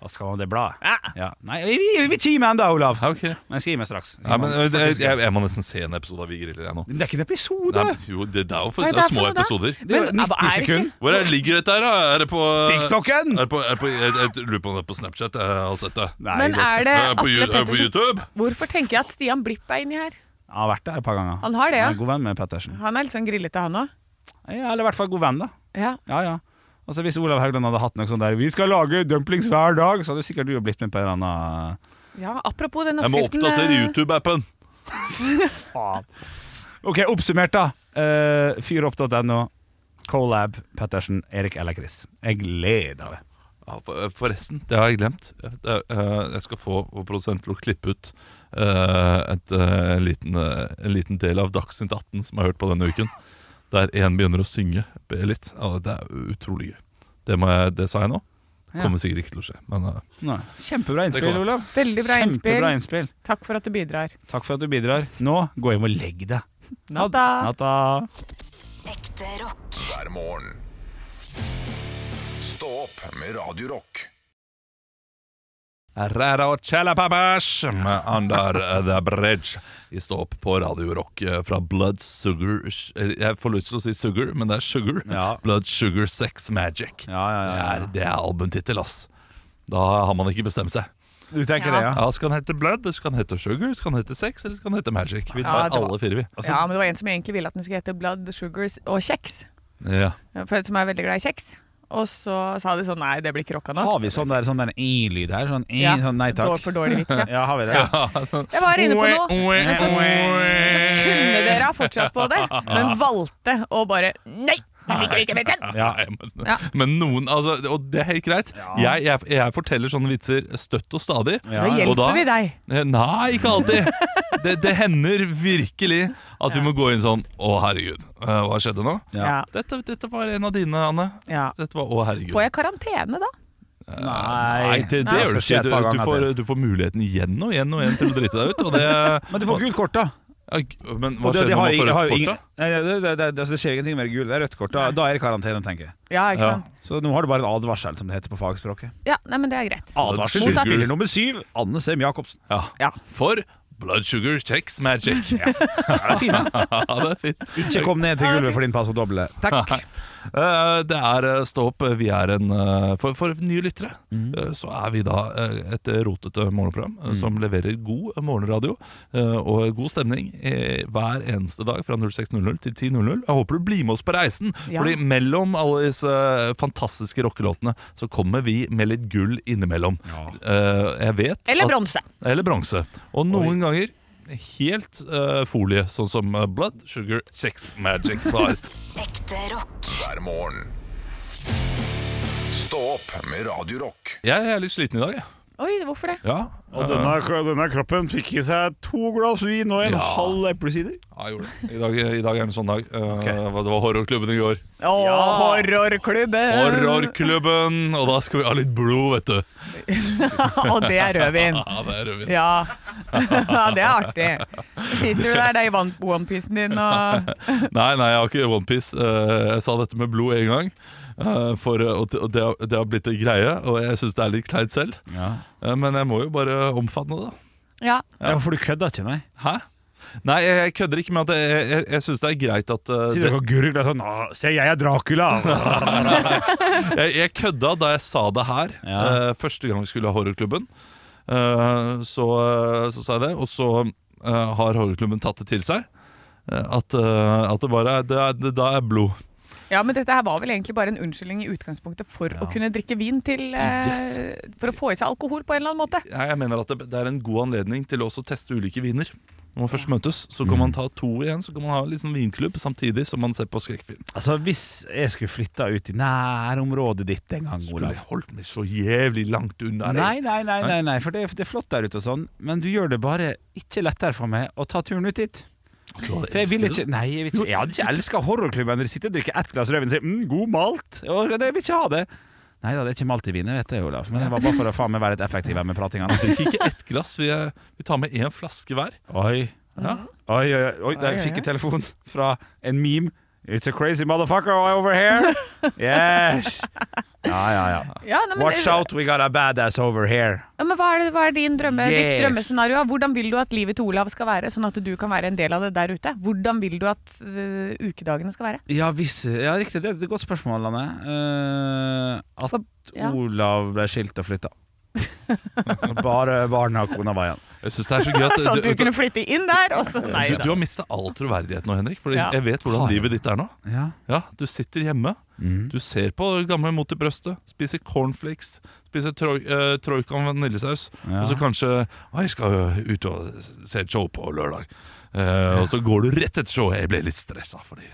[SPEAKER 2] Hva skal man med det bladet? Ja. Nei, vi, vi, vi timer ennå, Olav.
[SPEAKER 4] Ja, ok ja,
[SPEAKER 2] Men skriv meg straks. Skriv
[SPEAKER 4] men,
[SPEAKER 2] meg.
[SPEAKER 4] eh, jeg,
[SPEAKER 2] Faktisk.
[SPEAKER 4] jeg, jeg må nesten se en episode av Vi griller jeg nå
[SPEAKER 2] Men det er ikke en episode!
[SPEAKER 4] Nei, men jo, det, det er jo for,
[SPEAKER 3] Hva er sånn
[SPEAKER 4] det er
[SPEAKER 3] det
[SPEAKER 4] små
[SPEAKER 3] for noe da?
[SPEAKER 4] episoder
[SPEAKER 2] det er jo
[SPEAKER 3] Men, hva
[SPEAKER 2] 90
[SPEAKER 3] er det
[SPEAKER 2] sekunder.
[SPEAKER 4] Hvor er, ligger dette her da? Er det på eh,
[SPEAKER 2] TikToken!
[SPEAKER 4] Er det på, er det på jeg, jeg lurer på om det er på Snapchat Jeg har sett det
[SPEAKER 2] Nei,
[SPEAKER 3] Men er det
[SPEAKER 4] Er det på, Yu-
[SPEAKER 3] Atle
[SPEAKER 4] er det på
[SPEAKER 3] Pettersen?
[SPEAKER 4] YouTube?
[SPEAKER 3] Hvorfor tenker jeg at Stian Blipp er inni her?
[SPEAKER 2] Han har vært der et par ganger.
[SPEAKER 3] Han har det, ja.
[SPEAKER 2] er god venn med Pettersen.
[SPEAKER 3] Han er litt sånn grillete, han òg.
[SPEAKER 2] Ja, eller i hvert fall god venn, da.
[SPEAKER 3] Ja.
[SPEAKER 2] Ja, ja. Altså Hvis Olav Haugland hadde hatt noe sånt der 'Vi skal lage dumplings hver dag', så hadde sikkert du jo blitt med på en eller annen
[SPEAKER 3] ja, apropos den
[SPEAKER 4] Jeg må
[SPEAKER 3] oppskriften
[SPEAKER 4] oppdatere
[SPEAKER 3] eh,
[SPEAKER 4] YouTube-appen
[SPEAKER 2] Faen. Ok, oppsummert, da. Uh, Fyropp.no, Colab, Pettersen, Erik eller Chris. Jeg gleder meg.
[SPEAKER 4] Ja, for- eh, Forresten, det har jeg glemt. Det er, eh, Jeg skal få vår produsent til å klippe ut eh, et, eh, en, liten, eh, en liten del av Dagsnytt 18 som jeg har hørt på denne uken. der én begynner å synge litt. Ja, det er utrolig gøy. Det, må jeg, det sa jeg nå.
[SPEAKER 2] Ja.
[SPEAKER 4] Kommer sikkert ikke til å skje. Men eh,
[SPEAKER 2] Nei. Kjempebra
[SPEAKER 4] Det
[SPEAKER 2] innspill,
[SPEAKER 4] kommer.
[SPEAKER 2] Olav.
[SPEAKER 3] Veldig bra innspill.
[SPEAKER 2] Kjempebra innspill.
[SPEAKER 3] Takk for at du bidrar.
[SPEAKER 2] Takk for at du bidrar. Nå gå hjem og legg deg.
[SPEAKER 3] Natta.
[SPEAKER 2] Natta.
[SPEAKER 7] Ekte rock.
[SPEAKER 1] hver morgen. Stå opp med Radio Rock.
[SPEAKER 4] Rara og Chalapapash med Under the Bridge. Vi står opp på Radio Rock eh, fra Blood Sugar Sh- eh, Jeg får lyst til å si Sugar, men det er Sugar.
[SPEAKER 2] Ja.
[SPEAKER 4] Blood Sugar Sex Magic.
[SPEAKER 2] Ja, ja, ja, ja.
[SPEAKER 4] Det er, det er albumtittel, ass. Da har man ikke bestemt seg.
[SPEAKER 2] Du tenker det, ja?
[SPEAKER 4] Ja, Skal den hete Blood, eller skal den hete Sugar, skal den hete Sex eller skal den hete Magic? Vi
[SPEAKER 3] Ja,
[SPEAKER 4] tar
[SPEAKER 3] det var-
[SPEAKER 4] alle fire, vi.
[SPEAKER 2] altså-
[SPEAKER 4] Altså,
[SPEAKER 3] ja, men det var en som egentlig ville at den skulle hete Blood, Sugars og Kjeks.
[SPEAKER 4] Ja.
[SPEAKER 3] For Som er veldig glad i kjeks. Og så sa de sånn nei, det blir ikke rocka nå.
[SPEAKER 2] Har vi sånn der sånn der i-lyd her? Sånn, i,
[SPEAKER 3] Ja,
[SPEAKER 2] sånn nei
[SPEAKER 3] dår-
[SPEAKER 2] takk.
[SPEAKER 3] For dårlig vits, ja.
[SPEAKER 2] Ja, har vi det? Ja.
[SPEAKER 3] Jeg var inne på noe,
[SPEAKER 4] Oe,
[SPEAKER 3] men så,
[SPEAKER 4] oe,
[SPEAKER 3] så kunne dere ha fortsatt på det, men valgte å bare Nei! Jeg liker ikke vitsen!
[SPEAKER 2] Ja.
[SPEAKER 4] Nei, men,
[SPEAKER 3] Ja.
[SPEAKER 4] men noen altså, Og det er helt greit. Jeg, jeg, jeg forteller sånne vitser støtt og stadig.
[SPEAKER 2] Ja.
[SPEAKER 3] Da
[SPEAKER 4] Og da-
[SPEAKER 3] hjelper vi deg.
[SPEAKER 4] Eh, Nei, ikke alltid. Det, det hender virkelig at vi må gå inn sånn Å, herregud, eh, hva skjedde nå?
[SPEAKER 3] Ja.
[SPEAKER 4] Dette, dette var en av dine, Anne.
[SPEAKER 3] Ja.
[SPEAKER 4] Dette var, Å, herregud.
[SPEAKER 3] Får jeg karantene da?
[SPEAKER 4] Nei, det, det
[SPEAKER 2] Nei.
[SPEAKER 4] gjør du
[SPEAKER 2] Det skal
[SPEAKER 4] ikke.
[SPEAKER 2] skje et
[SPEAKER 4] Du,
[SPEAKER 2] par
[SPEAKER 4] du,
[SPEAKER 2] ganger
[SPEAKER 4] får,
[SPEAKER 2] til.
[SPEAKER 4] du får muligheten igjen og igjen og igjen til å drite deg ut. Og det,
[SPEAKER 2] Men du får gult kort, da.
[SPEAKER 4] Ja, g- men
[SPEAKER 2] Og
[SPEAKER 4] hva
[SPEAKER 2] det-
[SPEAKER 4] skjer
[SPEAKER 2] det
[SPEAKER 4] når
[SPEAKER 2] har
[SPEAKER 4] man
[SPEAKER 2] jeg-
[SPEAKER 4] får
[SPEAKER 2] jeg har
[SPEAKER 4] rødt
[SPEAKER 2] jo
[SPEAKER 4] kort,
[SPEAKER 2] ingen-
[SPEAKER 4] da?
[SPEAKER 2] Nei, det- det- det- altså, Det skjer ingenting med det gule. Det er rødt kort. Da, da er det karantene, tenker jeg.
[SPEAKER 3] Ja, ikke
[SPEAKER 4] Ja.
[SPEAKER 3] sant?
[SPEAKER 2] Så nå har du bare en advarsel, som det heter på fagspråket.
[SPEAKER 3] Ja, nei, men det er greit.
[SPEAKER 2] Advarsel
[SPEAKER 4] Mot
[SPEAKER 2] til spiller
[SPEAKER 4] abort.
[SPEAKER 2] nummer syv, Anne Sem Jacobsen.
[SPEAKER 4] Ja.
[SPEAKER 3] Ja.
[SPEAKER 4] For Blood Sugar Checks Magic. Ja,
[SPEAKER 2] Det er fint.
[SPEAKER 4] det er fint.
[SPEAKER 2] Ikke kom ned til gulvet for din pass og doble. Takk.
[SPEAKER 4] Eh, Det er eh, Stå opp. Vi er en eh, For, for nye lyttere
[SPEAKER 3] Mhm.
[SPEAKER 4] eh, så er vi da eh, et rotete morgenprogram eh, som leverer god morgenradio eh, og god stemning eh, hver eneste dag fra 06.00 til 10.00. Jeg håper du blir med oss på reisen,
[SPEAKER 3] Ja.
[SPEAKER 4] Fordi mellom alle disse eh, fantastiske rockelåtene så kommer vi med litt gull innimellom. Eh, Jeg vet
[SPEAKER 3] Eller
[SPEAKER 4] at-
[SPEAKER 3] bronse.
[SPEAKER 4] eller bronse. Og noen ganger helt eh, folie, sånn som eh, Blood Sugar Sex Magic var.
[SPEAKER 7] Ekte rock.
[SPEAKER 1] hver morgen. Stå opp med Radio Rock.
[SPEAKER 4] Jeg er litt sliten i dag, jeg.
[SPEAKER 3] Oi, hvorfor det?
[SPEAKER 4] Ja,
[SPEAKER 2] Og denne, kroppen fikk i seg to glass vin og en
[SPEAKER 4] Ja. halv
[SPEAKER 2] eplesider.
[SPEAKER 4] ja, jeg gjorde det. I dag, I dag er det en sånn dag. Eh, Det var horrorklubben i går.
[SPEAKER 3] Å, horrorklubben!
[SPEAKER 4] Horrorklubben! Og da skal vi ha litt blod, vet du.
[SPEAKER 3] Og det er rødvin.
[SPEAKER 4] Ja, det er rødvin.
[SPEAKER 3] Ja. ja, det er artig. Sitter du der, det er i one- onepiecen din og
[SPEAKER 4] Nei, nei, jeg har ikke OnePiece. Jeg sa dette med blod en gang. eh, For, eh, og det- og det, har- det har blitt en greie, og jeg syns det er litt kleint selv. Eh, Men jeg må jo bare omfavne det.
[SPEAKER 3] Ja.
[SPEAKER 2] Ja, for du kødda ikke, nei?
[SPEAKER 4] Hæ? Nei, jeg, jeg kødder ikke med at jeg, jeg, jeg syns det er greit at eh,
[SPEAKER 2] Sitter
[SPEAKER 4] det,
[SPEAKER 2] dere og gurgler sånn «Å, Se, jeg er Dracula!
[SPEAKER 4] jeg, jeg kødda da jeg sa det her
[SPEAKER 2] Ja.
[SPEAKER 4] eh, første gang vi skulle ha horrorklubben. Eh, så, så sa jeg det, og så eh, har horrorklubben tatt det til seg. eh, At, eh, at det bare er, det er, det, Da er blod.
[SPEAKER 3] Ja, men dette her var vel egentlig bare en unnskyldning i utgangspunktet for å kunne drikke vin til eh, For å få i seg alkohol på en eller annen måte.
[SPEAKER 4] Jeg, jeg mener at det, det er en god anledning til å også teste ulike viner. Når man først møtes, så kan man ta to igjen. Så kan man ha litt sånn vinklubb samtidig som man ser på skrekkfilm.
[SPEAKER 2] altså, hvis jeg skulle flytta ut i nærområdet ditt en gang,
[SPEAKER 4] Skulle
[SPEAKER 2] Olav
[SPEAKER 4] jeg holdt meg så jævlig langt unna deg.
[SPEAKER 2] Nei, nei, nei, nei, nei for det er, det er flott der ute og sånn, men du gjør det bare ikke lettere for meg å ta turen ut dit. For jeg vil ikke Nei, jeg vil ikke Jeg hadde ikke elska horrorklubben når de sitter og drikker ett glass rødvin og sier mm, 'god malt'. Og jeg vil ikke ha det. Nei da, det er ikke malt i vinen, vet jeg, Olav. Men det var bare for å faen meg være litt effektiv her med pratinga.
[SPEAKER 4] drikker ikke ett glass. Vi, er, vi tar med én flaske hver.
[SPEAKER 2] Oi.
[SPEAKER 4] Ja.
[SPEAKER 2] Oi, oi, oi, oi,
[SPEAKER 3] Oi,
[SPEAKER 2] der
[SPEAKER 3] oi,
[SPEAKER 2] fikk
[SPEAKER 3] oi.
[SPEAKER 2] jeg telefon fra en meme. It's a crazy motherfucker over here. Yes. Ja, ja, ja.
[SPEAKER 3] Ja, nei, men,
[SPEAKER 2] Watch out, we got a badass over here.
[SPEAKER 3] Ja, men hva er, det, hva er din drømme, ditt
[SPEAKER 2] Yes.
[SPEAKER 3] drømmescenario? Hvordan vil du at livet til Olav skal være, sånn at du kan være en del av det der ute? Hvordan vil du at øh, ukedagene skal være?
[SPEAKER 2] Ja, hvis, ja riktig. Det er et godt spørsmål, Anne. Eh, at
[SPEAKER 3] For- ja.
[SPEAKER 2] Olav ble skilt og flytta. Så bare barna og kona var igjen.
[SPEAKER 4] Jeg synes det er så gøy at
[SPEAKER 3] Sånn at du kunne flytte inn der, og så nei
[SPEAKER 4] du,
[SPEAKER 3] da.
[SPEAKER 4] du har mista all troverdighet nå, Henrik. For
[SPEAKER 3] Ja.
[SPEAKER 4] jeg vet hvordan livet ditt er nå.
[SPEAKER 2] Ja.
[SPEAKER 4] Ja, Du sitter hjemme,
[SPEAKER 2] Mm.
[SPEAKER 4] du ser på gamle Mot i brøstet, spiser cornflakes, spiser troi, eh, troika med vaniljesaus,
[SPEAKER 2] Ja.
[SPEAKER 4] og så kanskje «Å, 'Jeg skal ø, ut og s- se et show på lørdag'. Eh, Og så går du rett etter showet. Jeg ble litt stressa fordi,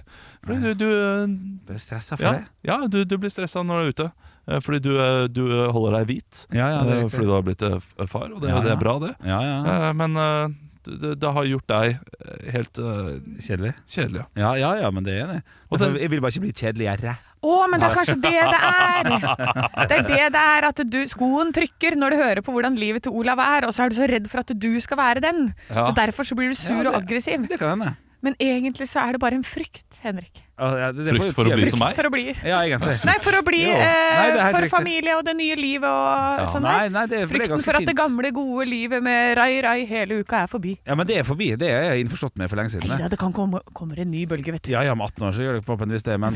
[SPEAKER 4] fordi du, du ø,
[SPEAKER 2] Ble stressa for
[SPEAKER 4] Ja,
[SPEAKER 2] det.
[SPEAKER 4] ja du, du blir stressa når du er ute. eh, Fordi du, eh, du eh, holder deg hvit.
[SPEAKER 2] Ja, ja, det er
[SPEAKER 4] Eh,
[SPEAKER 2] riktig.
[SPEAKER 4] fordi du har blitt eh, f- far, og det,
[SPEAKER 2] Ja,
[SPEAKER 4] det
[SPEAKER 2] ja.
[SPEAKER 4] er bra, det.
[SPEAKER 2] Ja, ja.
[SPEAKER 4] Eh, Men eh, det, det har gjort deg eh, helt eh,
[SPEAKER 2] Kjedelig?
[SPEAKER 4] kjedelig. ja.
[SPEAKER 2] Ja, ja, ja, men det er det.
[SPEAKER 4] Og den-
[SPEAKER 2] jeg vil bare ikke bli kjedeligere.
[SPEAKER 3] Å, men det er kanskje det det er! Det er det det er, at du, skoen trykker når du hører på hvordan livet til Olav er, og så er du så redd for at du skal være den.
[SPEAKER 4] Ja.
[SPEAKER 3] Så derfor så blir du sur
[SPEAKER 2] Ja, det-
[SPEAKER 3] og aggressiv.
[SPEAKER 2] Det kan hende.
[SPEAKER 3] Men egentlig så er det bare en frykt, Henrik.
[SPEAKER 2] Altså, ja, det- det
[SPEAKER 4] Frykt
[SPEAKER 2] får-
[SPEAKER 4] for å bli
[SPEAKER 2] frykt-
[SPEAKER 4] som meg?
[SPEAKER 3] For å bli
[SPEAKER 2] Ja, egentlig.
[SPEAKER 3] Nei, for å bli
[SPEAKER 2] Jo.
[SPEAKER 3] eh,
[SPEAKER 2] Nei, det er helt
[SPEAKER 3] For
[SPEAKER 2] riktig.
[SPEAKER 3] familie og det nye livet og
[SPEAKER 2] Ja.
[SPEAKER 3] sånn
[SPEAKER 2] Nei,
[SPEAKER 3] der.
[SPEAKER 2] nei, det, er- det er
[SPEAKER 3] Frykten
[SPEAKER 2] ganske
[SPEAKER 3] for at det
[SPEAKER 2] fint.
[SPEAKER 3] gamle, gode livet med rai, rai hele uka er forbi.
[SPEAKER 2] Ja, men det er forbi. Det er jeg innforstått med for lenge siden.
[SPEAKER 3] Nei
[SPEAKER 2] det.
[SPEAKER 3] da, det kan komme kommer en ny bølge, vet du.
[SPEAKER 2] Ja, ja, med 18 år så gjør det forhåpentligvis det, men,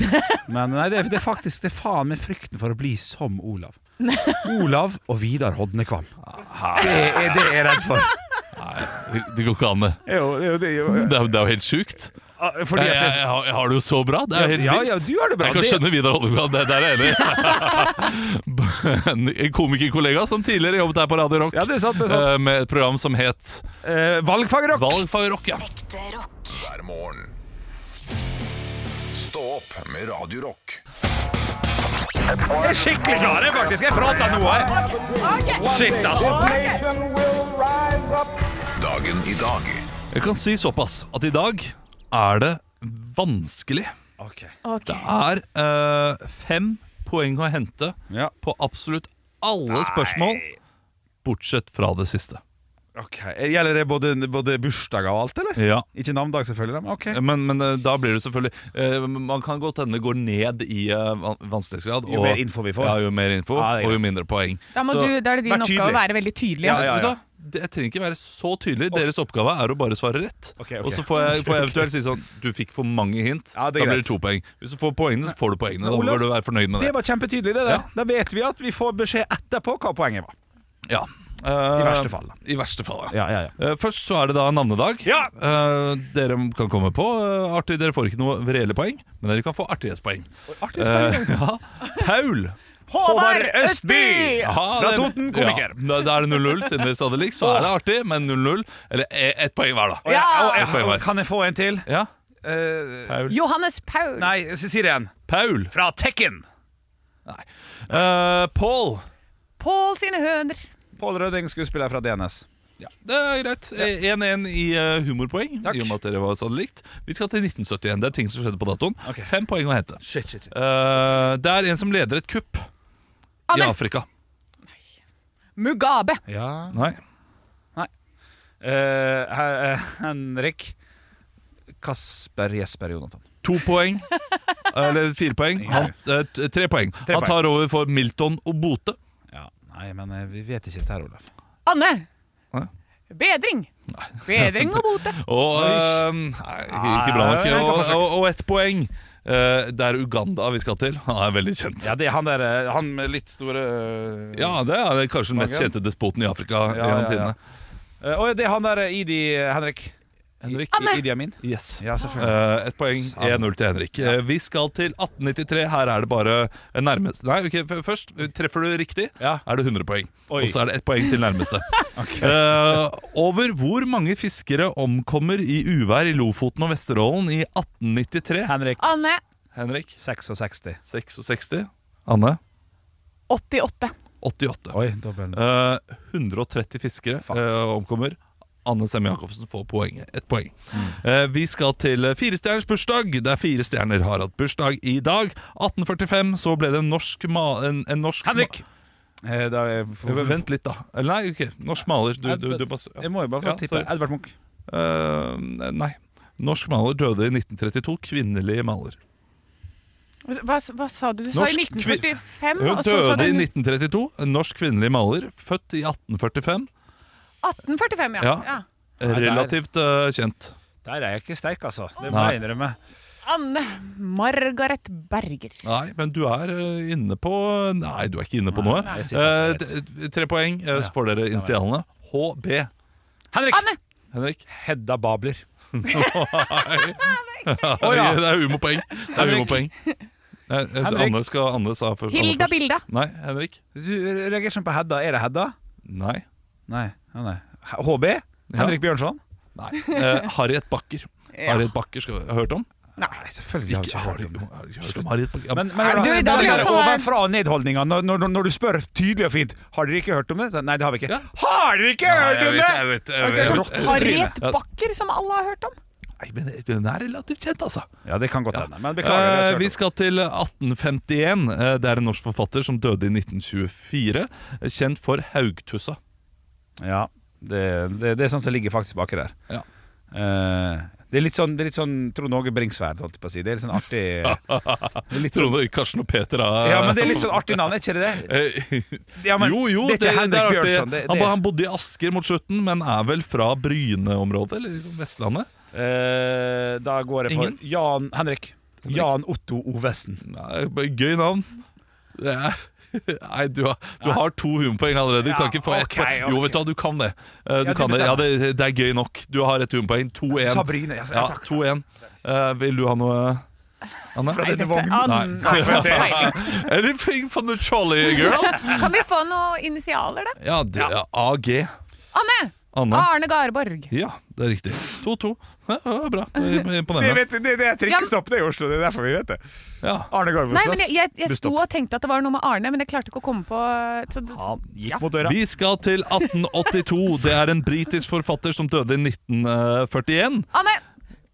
[SPEAKER 2] men nei, det, er, det er faktisk det er faen meg frykten for å bli som Olav. Olav og Vidar Hodnekvam. Det er det jeg er redd for.
[SPEAKER 4] Det, det går ikke an, det.
[SPEAKER 2] Jo, jo, det er jo
[SPEAKER 4] Det er, det er jo helt sjukt.
[SPEAKER 2] Ah,
[SPEAKER 4] Jeg,
[SPEAKER 2] Fordi
[SPEAKER 4] jeg,
[SPEAKER 2] at
[SPEAKER 4] jeg,
[SPEAKER 2] det,
[SPEAKER 4] har- jeg har det jo så bra. Det er jo helt
[SPEAKER 2] ja,
[SPEAKER 4] vilt.
[SPEAKER 2] ja, du har det bra.
[SPEAKER 4] Jeg kan
[SPEAKER 2] Det-
[SPEAKER 4] skjønne Vidar Holmgren, det der er jeg enig i. En komikerkollega som tidligere jobbet her på Radio Rock
[SPEAKER 2] Ja, det er sant, det er sant.
[SPEAKER 4] eh, med et program som het
[SPEAKER 2] Eh, valgfagrock!
[SPEAKER 4] Valgfag Rock. Ja.
[SPEAKER 7] Ekte rock.
[SPEAKER 1] hver morgen. Stå opp med Radio Rock.
[SPEAKER 2] Jeg er skikkelig klar, jeg, faktisk. Jeg prater nå, jeg. Shit, altså.
[SPEAKER 1] Dagen i dag
[SPEAKER 4] Jeg kan si såpass at i dag er det vanskelig.
[SPEAKER 3] Ok.
[SPEAKER 4] Det er eh, fem poeng å hente
[SPEAKER 2] Ja,
[SPEAKER 4] på absolutt alle spørsmål, bortsett fra det siste.
[SPEAKER 2] ok. Gjelder det både, både bursdager og alt, eller?
[SPEAKER 4] Ja
[SPEAKER 2] Ikke navndag, selvfølgelig, men ok.
[SPEAKER 4] Men, men eh, da blir det selvfølgelig eh, Man kan godt hende det går ned i eh, van- vanskelighetsgrad.
[SPEAKER 2] Jo
[SPEAKER 4] og-
[SPEAKER 2] mer info vi får.
[SPEAKER 4] Ja, jo mer info,
[SPEAKER 2] Ja, det er
[SPEAKER 4] og jo
[SPEAKER 2] greit.
[SPEAKER 4] mindre poeng.
[SPEAKER 3] Da, må
[SPEAKER 4] Så-
[SPEAKER 3] du, da er det din
[SPEAKER 2] vær
[SPEAKER 3] oppgave å
[SPEAKER 2] tydelig.
[SPEAKER 3] være veldig tydelig.
[SPEAKER 2] Ja, ja,
[SPEAKER 4] Vet du hva? Det, jeg trenger ikke være så tydelig. Deres oppgave er å bare svare rett.
[SPEAKER 2] Ok, ok.
[SPEAKER 4] Og så får jeg, får jeg eventuelt si sånn Du fikk for mange hint.
[SPEAKER 2] Ja, det
[SPEAKER 4] da
[SPEAKER 2] er
[SPEAKER 4] blir
[SPEAKER 2] greit.
[SPEAKER 4] det to poeng. Hvis du får poengene, så får du poengene.
[SPEAKER 2] Men
[SPEAKER 4] Da bør
[SPEAKER 2] Olav,
[SPEAKER 4] du være fornøyd med
[SPEAKER 2] Det
[SPEAKER 4] det.
[SPEAKER 2] var kjempetydelig, det der.
[SPEAKER 4] Ja.
[SPEAKER 2] Da vet vi at vi får beskjed etterpå hva poenget var.
[SPEAKER 4] Ja. Eh,
[SPEAKER 2] I verste fall, da.
[SPEAKER 4] I verste fall, ja.
[SPEAKER 2] Eh, Ja, ja, ja.
[SPEAKER 4] Eh, Først så er det da navnedag.
[SPEAKER 2] Ja!
[SPEAKER 4] Eh, dere kan komme på eh, artig. Dere får ikke noe reelle poeng, men dere kan få artighetspoeng. Eh, ja. Paul.
[SPEAKER 2] Håvard Østby!
[SPEAKER 4] Ja,
[SPEAKER 2] Fra
[SPEAKER 4] Ah, det-
[SPEAKER 2] Toten, komiker.
[SPEAKER 4] Ja, da- da er det 0-0, siden dere sa det likt. Så er det artig, men 0-0. Eller eh, ett poeng hver, da.
[SPEAKER 2] Og jeg, og
[SPEAKER 4] Ett poeng
[SPEAKER 2] jeg,
[SPEAKER 4] hver.
[SPEAKER 2] kan jeg få en til?
[SPEAKER 4] Ja,
[SPEAKER 2] Eh,
[SPEAKER 4] Paul.
[SPEAKER 3] Johannes Paul.
[SPEAKER 2] nei, så sier jeg en.
[SPEAKER 4] Paul.
[SPEAKER 2] Fra Tekken.
[SPEAKER 4] Eh, Paul.
[SPEAKER 3] Pål sine høner.
[SPEAKER 2] Pål Rødding, skuespiller fra DNS.
[SPEAKER 4] Ja, det er greit. Eh, 1-1 i eh, humorpoeng,
[SPEAKER 2] Takk.
[SPEAKER 4] i og med at dere var sånn likt. Vi skal til 1971. Det er ting som skjedde på datoen.
[SPEAKER 2] Ok.
[SPEAKER 4] Fem poeng å hente.
[SPEAKER 2] Shit, shit, shit.
[SPEAKER 4] Eh, det er en som leder et kupp i
[SPEAKER 3] Amen.
[SPEAKER 4] Afrika.
[SPEAKER 3] Mugabe.
[SPEAKER 2] Ja.
[SPEAKER 4] Nei.
[SPEAKER 2] Eh, he- eh, Henrik Kasper Jesper Jonathan.
[SPEAKER 4] To poeng. Eller fire poeng. Han, eh, t- tre poeng.
[SPEAKER 2] Tre
[SPEAKER 4] Han
[SPEAKER 2] poeng.
[SPEAKER 4] tar over for Milton og Bote.
[SPEAKER 2] Ja, Nei, men eh, vi vet ikke dette her, Olaf.
[SPEAKER 3] Anne.
[SPEAKER 4] Hæ?
[SPEAKER 3] Bedring. Bedring og bote.
[SPEAKER 4] Og
[SPEAKER 2] Oi.
[SPEAKER 4] ehm, Nei, ikke bra nok.
[SPEAKER 2] Nei, jeg kan
[SPEAKER 4] Og,
[SPEAKER 2] forsøke.
[SPEAKER 4] og, og ett poeng. Eh, det er Uganda vi skal til. Han er veldig kjent.
[SPEAKER 2] Ja, det er han der eh, Han med litt store eh,
[SPEAKER 4] Ja, det er kanskje den mest
[SPEAKER 2] Magen.
[SPEAKER 4] kjente despoten i Afrika
[SPEAKER 2] Ja,
[SPEAKER 4] gjennom
[SPEAKER 2] ja, ja.
[SPEAKER 4] tidene.
[SPEAKER 2] Eh, Og det er han der eh, Idi eh, Henrik.
[SPEAKER 4] Henrik.
[SPEAKER 2] I, Idi Amin.
[SPEAKER 4] Yes.
[SPEAKER 2] Ja, selvfølgelig.
[SPEAKER 4] Eh, ett poeng. 1-0 til Henrik. Eh, vi skal til 1893. Her er det bare nærmeste Nei, ok, f- først eh, treffer du riktig,
[SPEAKER 2] Ja.
[SPEAKER 4] er det 100 poeng.
[SPEAKER 2] Oi.
[SPEAKER 4] Og så er det ett poeng til nærmeste. Eh, over hvor mange fiskere omkommer i uvær i Lofoten og Vesterålen i 1893?
[SPEAKER 2] Henrik
[SPEAKER 3] Anne.
[SPEAKER 4] Henrik
[SPEAKER 2] 66.
[SPEAKER 4] 66. Anne
[SPEAKER 3] 88.
[SPEAKER 4] 88.
[SPEAKER 2] Oi, dobbel.
[SPEAKER 4] Eh, 130 fiskere eh, omkommer. Anne Semme Jacobsen får poenget. Et poeng.
[SPEAKER 2] Mm.
[SPEAKER 4] Eh, vi skal til eh, firestjerners bursdag, der fire stjerner har hatt bursdag i dag. 1845 så ble det en norsk ma... En, en norsk ma-
[SPEAKER 2] Henrik! Eh, da er
[SPEAKER 4] Eh, Vent litt, da. Eller Nei, ok. Norsk maler. Du, du, du, bare s- ja.
[SPEAKER 2] Jeg må jo bare få
[SPEAKER 4] Ja,
[SPEAKER 2] tippe.
[SPEAKER 4] sorry.
[SPEAKER 2] Edvard Munch.
[SPEAKER 4] Eh, nei. Norsk maler døde i 1932. Kvinnelig maler.
[SPEAKER 3] Hva, hva sa du? Du sa i
[SPEAKER 4] Norsk
[SPEAKER 3] 1945,
[SPEAKER 4] Hun
[SPEAKER 3] og så sa
[SPEAKER 4] døde
[SPEAKER 3] du
[SPEAKER 4] i 1932. En norsk kvinnelig maler. Født i 1845.
[SPEAKER 3] 1845, ja.
[SPEAKER 4] Ja.
[SPEAKER 3] ja.
[SPEAKER 2] der.
[SPEAKER 4] Relativt eh, kjent.
[SPEAKER 2] Der er jeg ikke sterk, altså. Det må
[SPEAKER 4] Nei.
[SPEAKER 2] jeg innrømme.
[SPEAKER 3] Anne Margaret Berger.
[SPEAKER 4] Nei, men du er eh, inne på Nei, du er ikke inne på noe.
[SPEAKER 2] jeg sier bare sånn
[SPEAKER 4] Eh, t- tre poeng, eh, så får dere initialene. HB.
[SPEAKER 2] Henrik!
[SPEAKER 3] Anne!
[SPEAKER 4] Henrik.
[SPEAKER 2] Hedda Babler.
[SPEAKER 4] Oi,
[SPEAKER 2] ja.
[SPEAKER 4] Det er humorpoeng. Det er
[SPEAKER 2] Henrik.
[SPEAKER 4] humorpoeng. Nei, eh,
[SPEAKER 2] Henrik.
[SPEAKER 4] Anne skal Anne sa først. Anne
[SPEAKER 3] Hilda
[SPEAKER 4] først.
[SPEAKER 3] Bilda.
[SPEAKER 4] Nei, Henrik.
[SPEAKER 2] Du reagerer sånn på Hedda. Er det Hedda?
[SPEAKER 4] Nei.
[SPEAKER 2] Nei. ja, nei. H- HB? Henrik Bjørnson?
[SPEAKER 4] Nei. Eh, Harriet Bakker.
[SPEAKER 3] Ja.
[SPEAKER 4] Harriet Bakker skal vi ha hørt om.
[SPEAKER 2] Nei, selvfølgelig har vi
[SPEAKER 4] Ikke,
[SPEAKER 2] ikke
[SPEAKER 4] har
[SPEAKER 2] hørt
[SPEAKER 4] de,
[SPEAKER 2] om det.
[SPEAKER 4] har de hørt om Marit Bakke? Ja,
[SPEAKER 2] Men, men,
[SPEAKER 3] Nei, du, da altså- vil jeg
[SPEAKER 2] men-
[SPEAKER 3] også ha-
[SPEAKER 2] ovenfra og nedholdninga. Når, når, når du spør tydelig og fint Har dere ikke hørt om det? Så, nei, det har vi ikke.
[SPEAKER 4] Ja.
[SPEAKER 2] Har dere ikke hørt om det?!
[SPEAKER 4] jeg vet, jeg vet, jeg
[SPEAKER 2] Har
[SPEAKER 4] vet.
[SPEAKER 2] du hørt om
[SPEAKER 3] Harriet Bakker, som alle har hørt om.
[SPEAKER 4] Nei, men Den er relativt kjent, altså.
[SPEAKER 2] Ja, det kan godt hende. Men
[SPEAKER 4] Eh,
[SPEAKER 2] beklager.
[SPEAKER 4] vi
[SPEAKER 2] Vi skal...
[SPEAKER 4] skal til 1851. Eh, Det er en norsk forfatter som døde i 1924. eh, Kjent for Haugtussa.
[SPEAKER 2] Ja, det, det, det er sånn som ligger faktisk baki der.
[SPEAKER 4] Ja.
[SPEAKER 2] Eh, det er litt sånn, det er litt sånn Trond Åge Bringsværd, holdt jeg på å si. Det er litt sånn artig det er litt sånn,
[SPEAKER 4] Trond Karsten og Peter har
[SPEAKER 2] Ja, men det er litt sånn artig navn, er ikke det det? Ja, men,
[SPEAKER 4] jo, jo,
[SPEAKER 2] det er ikke Henrik
[SPEAKER 4] artig.
[SPEAKER 2] Bjørnson. Det,
[SPEAKER 4] Han,
[SPEAKER 2] det,
[SPEAKER 4] ba- han bodde i Asker mot slutten, men er vel fra Bryne-området, eller liksom Vestlandet?
[SPEAKER 2] Eh, da går jeg for
[SPEAKER 4] Ingen?
[SPEAKER 2] Jan Henrik. Jan Otto Ovesen.
[SPEAKER 4] Nei, bare Gøy navn. Det er, nei, du har, du har to humorpoeng allerede. Du kan
[SPEAKER 2] Ja,
[SPEAKER 4] ikke få ett
[SPEAKER 2] ok,
[SPEAKER 4] poeng. Jo,
[SPEAKER 2] ok.
[SPEAKER 4] vet du hva, du kan det. Eh, Du
[SPEAKER 2] Ja, du
[SPEAKER 4] kan det. Ja,
[SPEAKER 2] bestemmer.
[SPEAKER 4] det, det er gøy nok. Du har et humorpoeng. 2-1.
[SPEAKER 2] Sabrine. Ja,
[SPEAKER 4] Ja,
[SPEAKER 2] takk.
[SPEAKER 4] 2-1. Eh, vil du ha noe, Anne?
[SPEAKER 2] Fra denne
[SPEAKER 3] Dette-
[SPEAKER 2] vognen.
[SPEAKER 3] Ah,
[SPEAKER 4] Nei.
[SPEAKER 3] nei, nei.
[SPEAKER 4] Anything from the trolley, girl?
[SPEAKER 3] Kan vi få noen initialer, da?
[SPEAKER 4] Ja, det er AG.
[SPEAKER 3] Anne!
[SPEAKER 4] Anne.
[SPEAKER 3] Arne Garborg.
[SPEAKER 4] Ja, det er riktig. 2-2. Ja, det var bra. Det er
[SPEAKER 2] Det,
[SPEAKER 4] Imponerende.
[SPEAKER 2] vet, det, det er trikkestopp det er i Oslo, det er derfor vi vet det.
[SPEAKER 4] Ja.
[SPEAKER 2] Arne Garborgs
[SPEAKER 3] Nei, men jeg, jeg, jeg sto og tenkte at det var noe med Arne, men jeg klarte ikke å komme på så, det-
[SPEAKER 2] Han gikk mot døra.
[SPEAKER 4] Vi skal til 1882. Det er en britisk forfatter som døde i eh, 1941.
[SPEAKER 3] Anne!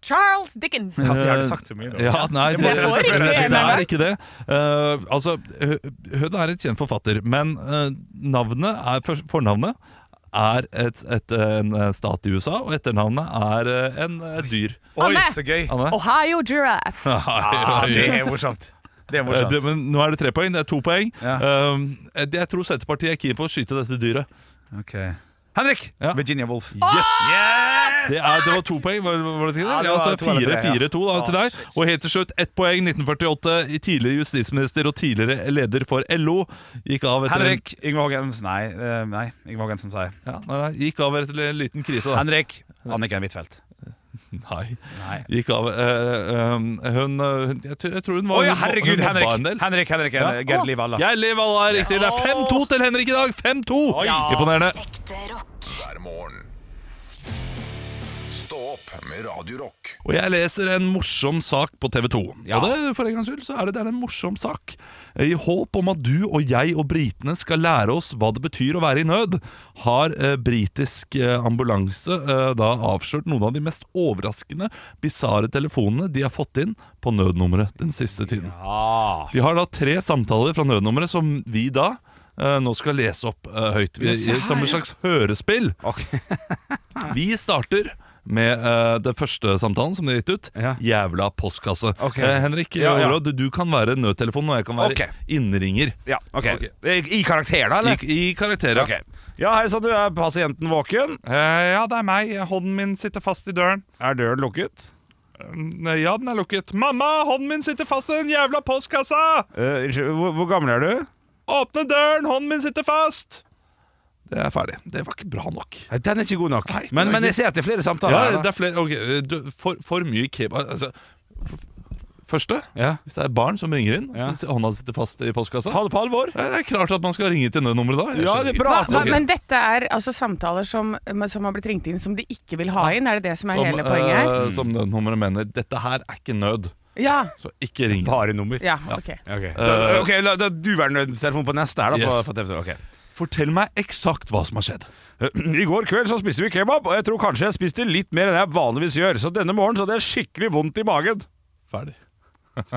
[SPEAKER 3] Charles Dickens.
[SPEAKER 2] Ja, jeg har ikke sagt så mye nå.
[SPEAKER 4] Ja, nei, det,
[SPEAKER 3] Jeg får ikke
[SPEAKER 4] det,
[SPEAKER 3] det
[SPEAKER 4] er
[SPEAKER 3] engang.
[SPEAKER 4] ikke det. Eh, altså, hø- hun er en kjent forfatter, men eh, navnet er, for- fornavnet er et, et, en eh, stat i USA, og etternavnet er eh, en eh, dyr.
[SPEAKER 2] Oi,
[SPEAKER 3] Anne!
[SPEAKER 2] så gøy.
[SPEAKER 4] Anne?
[SPEAKER 3] Ohio Giraffe.
[SPEAKER 2] Ja, det er morsomt. Det er
[SPEAKER 4] Eh, det,
[SPEAKER 2] morsomt.
[SPEAKER 4] men nå er det tre poeng. Det er to poeng.
[SPEAKER 2] Ja.
[SPEAKER 4] Eh, det, jeg tror Senterpartiet er keen på å skyte dette dyret.
[SPEAKER 2] Ok. Henrik!
[SPEAKER 4] Ja.
[SPEAKER 2] Virginia Woolf.
[SPEAKER 4] Yes!
[SPEAKER 2] Yeah!
[SPEAKER 4] Det, er, det var to poeng, var, var det ikke det?
[SPEAKER 2] Ja, det
[SPEAKER 4] Ja,
[SPEAKER 2] var
[SPEAKER 4] altså
[SPEAKER 2] to eller tre, ja.
[SPEAKER 4] 4-4-2 da, til deg. Og helt til slutt, ett poeng, 1948. Tidligere justisminister og tidligere leder for LO gikk av etter
[SPEAKER 2] Henrik Yngve Hågensen. Nei, eh, nei. Yngve Hågensen sa jeg.
[SPEAKER 4] En, ja, nei, nei, gikk av etter en liten krise, da.
[SPEAKER 2] Henrik Anniken Huitfeldt.
[SPEAKER 4] Nei.
[SPEAKER 2] Nei.
[SPEAKER 4] Gikk av eh, um, Hun eh, hun- jeg, tror- jeg tror hun
[SPEAKER 2] Å
[SPEAKER 4] var
[SPEAKER 2] ja,
[SPEAKER 4] hun-
[SPEAKER 2] herregud,
[SPEAKER 4] hun mobba
[SPEAKER 2] Henrik!
[SPEAKER 4] en del.
[SPEAKER 2] Henrik, Henrik,
[SPEAKER 4] Ja.
[SPEAKER 2] Henrik Gerd Liv Alla.
[SPEAKER 4] Jeg lever alle er riktig. Det er 5-2 til Henrik i dag! 5-2! Imponerende.
[SPEAKER 7] Ekte rock.
[SPEAKER 1] hver morgen. Stå opp med Radio Rock.
[SPEAKER 4] Og jeg leser en morsom sak på TV 2.
[SPEAKER 2] Ja.
[SPEAKER 4] Og det, for en gangs skyld så er det, det er en morsom sak. I håp om at du og jeg og britene skal lære oss hva det betyr å være i nød, har eh, britisk eh, ambulanse eh, da avslørt noen av de mest overraskende, bisarre telefonene de har fått inn på nødnummeret den siste tiden.
[SPEAKER 2] Ah.
[SPEAKER 4] De har da tre samtaler fra nødnummeret som vi da eh, nå skal lese opp eh, høyt. Vi, som et slags hørespill. Vi starter med eh, den første samtalen som de har gitt ut.
[SPEAKER 2] Ja.
[SPEAKER 4] Jævla postkasse.
[SPEAKER 2] Ok.
[SPEAKER 4] Eh, Henrik,
[SPEAKER 2] Ja, ja.
[SPEAKER 4] Overå, Du, du kan være nødtelefonen, og jeg kan være
[SPEAKER 2] Ok.
[SPEAKER 4] innringer.
[SPEAKER 2] Ja, ok.
[SPEAKER 4] Ok.
[SPEAKER 2] I karakter, da, eller?
[SPEAKER 4] I, I karakterer.
[SPEAKER 2] Ok. Ja, hei sann, du er pasienten våken.
[SPEAKER 4] Eh, ja, det er meg. Hånden min sitter fast i døren.
[SPEAKER 2] Er døren lukket?
[SPEAKER 4] Eh, Ja, den er lukket. Mamma, hånden min sitter fast i den jævla postkassa!
[SPEAKER 2] Eh, Unnskyld, hvor, hvor gammel er du?
[SPEAKER 4] Åpne døren, hånden min sitter fast! Det er ferdig. Det var ikke bra nok.
[SPEAKER 2] Nei, Den er ikke god nok.
[SPEAKER 4] Nei, den
[SPEAKER 2] men,
[SPEAKER 4] er
[SPEAKER 2] men
[SPEAKER 4] ikke-
[SPEAKER 2] jeg ser at det er flere samtaler.
[SPEAKER 4] Ja,
[SPEAKER 2] her,
[SPEAKER 4] det
[SPEAKER 2] da.
[SPEAKER 4] er flere ok, eh, du, for, for mye kebab altså, f- Første
[SPEAKER 2] Ja.
[SPEAKER 4] Hvis det er barn som ringer inn
[SPEAKER 2] Ja.
[SPEAKER 4] hvis Hånda sitter fast i postkassa
[SPEAKER 2] Ta det på alvor.
[SPEAKER 4] Ja, Det er klart at man skal ringe til nødnummeret da Jeg
[SPEAKER 2] Ja,
[SPEAKER 4] skjønner
[SPEAKER 2] det er
[SPEAKER 4] ikke.
[SPEAKER 2] bra.
[SPEAKER 3] Hva, hva,
[SPEAKER 4] Ok.
[SPEAKER 3] men dette er altså samtaler som, som har blitt ringt inn som de ikke vil ha inn? Er det det som er hele poenget her?
[SPEAKER 4] eh, som nødnummeret mener Dette her er ikke nød
[SPEAKER 3] Ja.
[SPEAKER 4] Så ikke ring
[SPEAKER 2] Bare nummer.
[SPEAKER 3] ja, ok.
[SPEAKER 2] Ok, da, ok, la, da du være nødtelefonen på neste her, da.
[SPEAKER 4] Eh.
[SPEAKER 2] På,
[SPEAKER 4] Yes.
[SPEAKER 2] på TV2. ok.
[SPEAKER 4] Fortell meg eksakt hva som har skjedd
[SPEAKER 2] I går kveld så spiste vi kebab, og jeg tror kanskje jeg spiste litt mer enn jeg vanligvis gjør, så denne morgenen så hadde jeg skikkelig vondt i magen.
[SPEAKER 4] Ferdig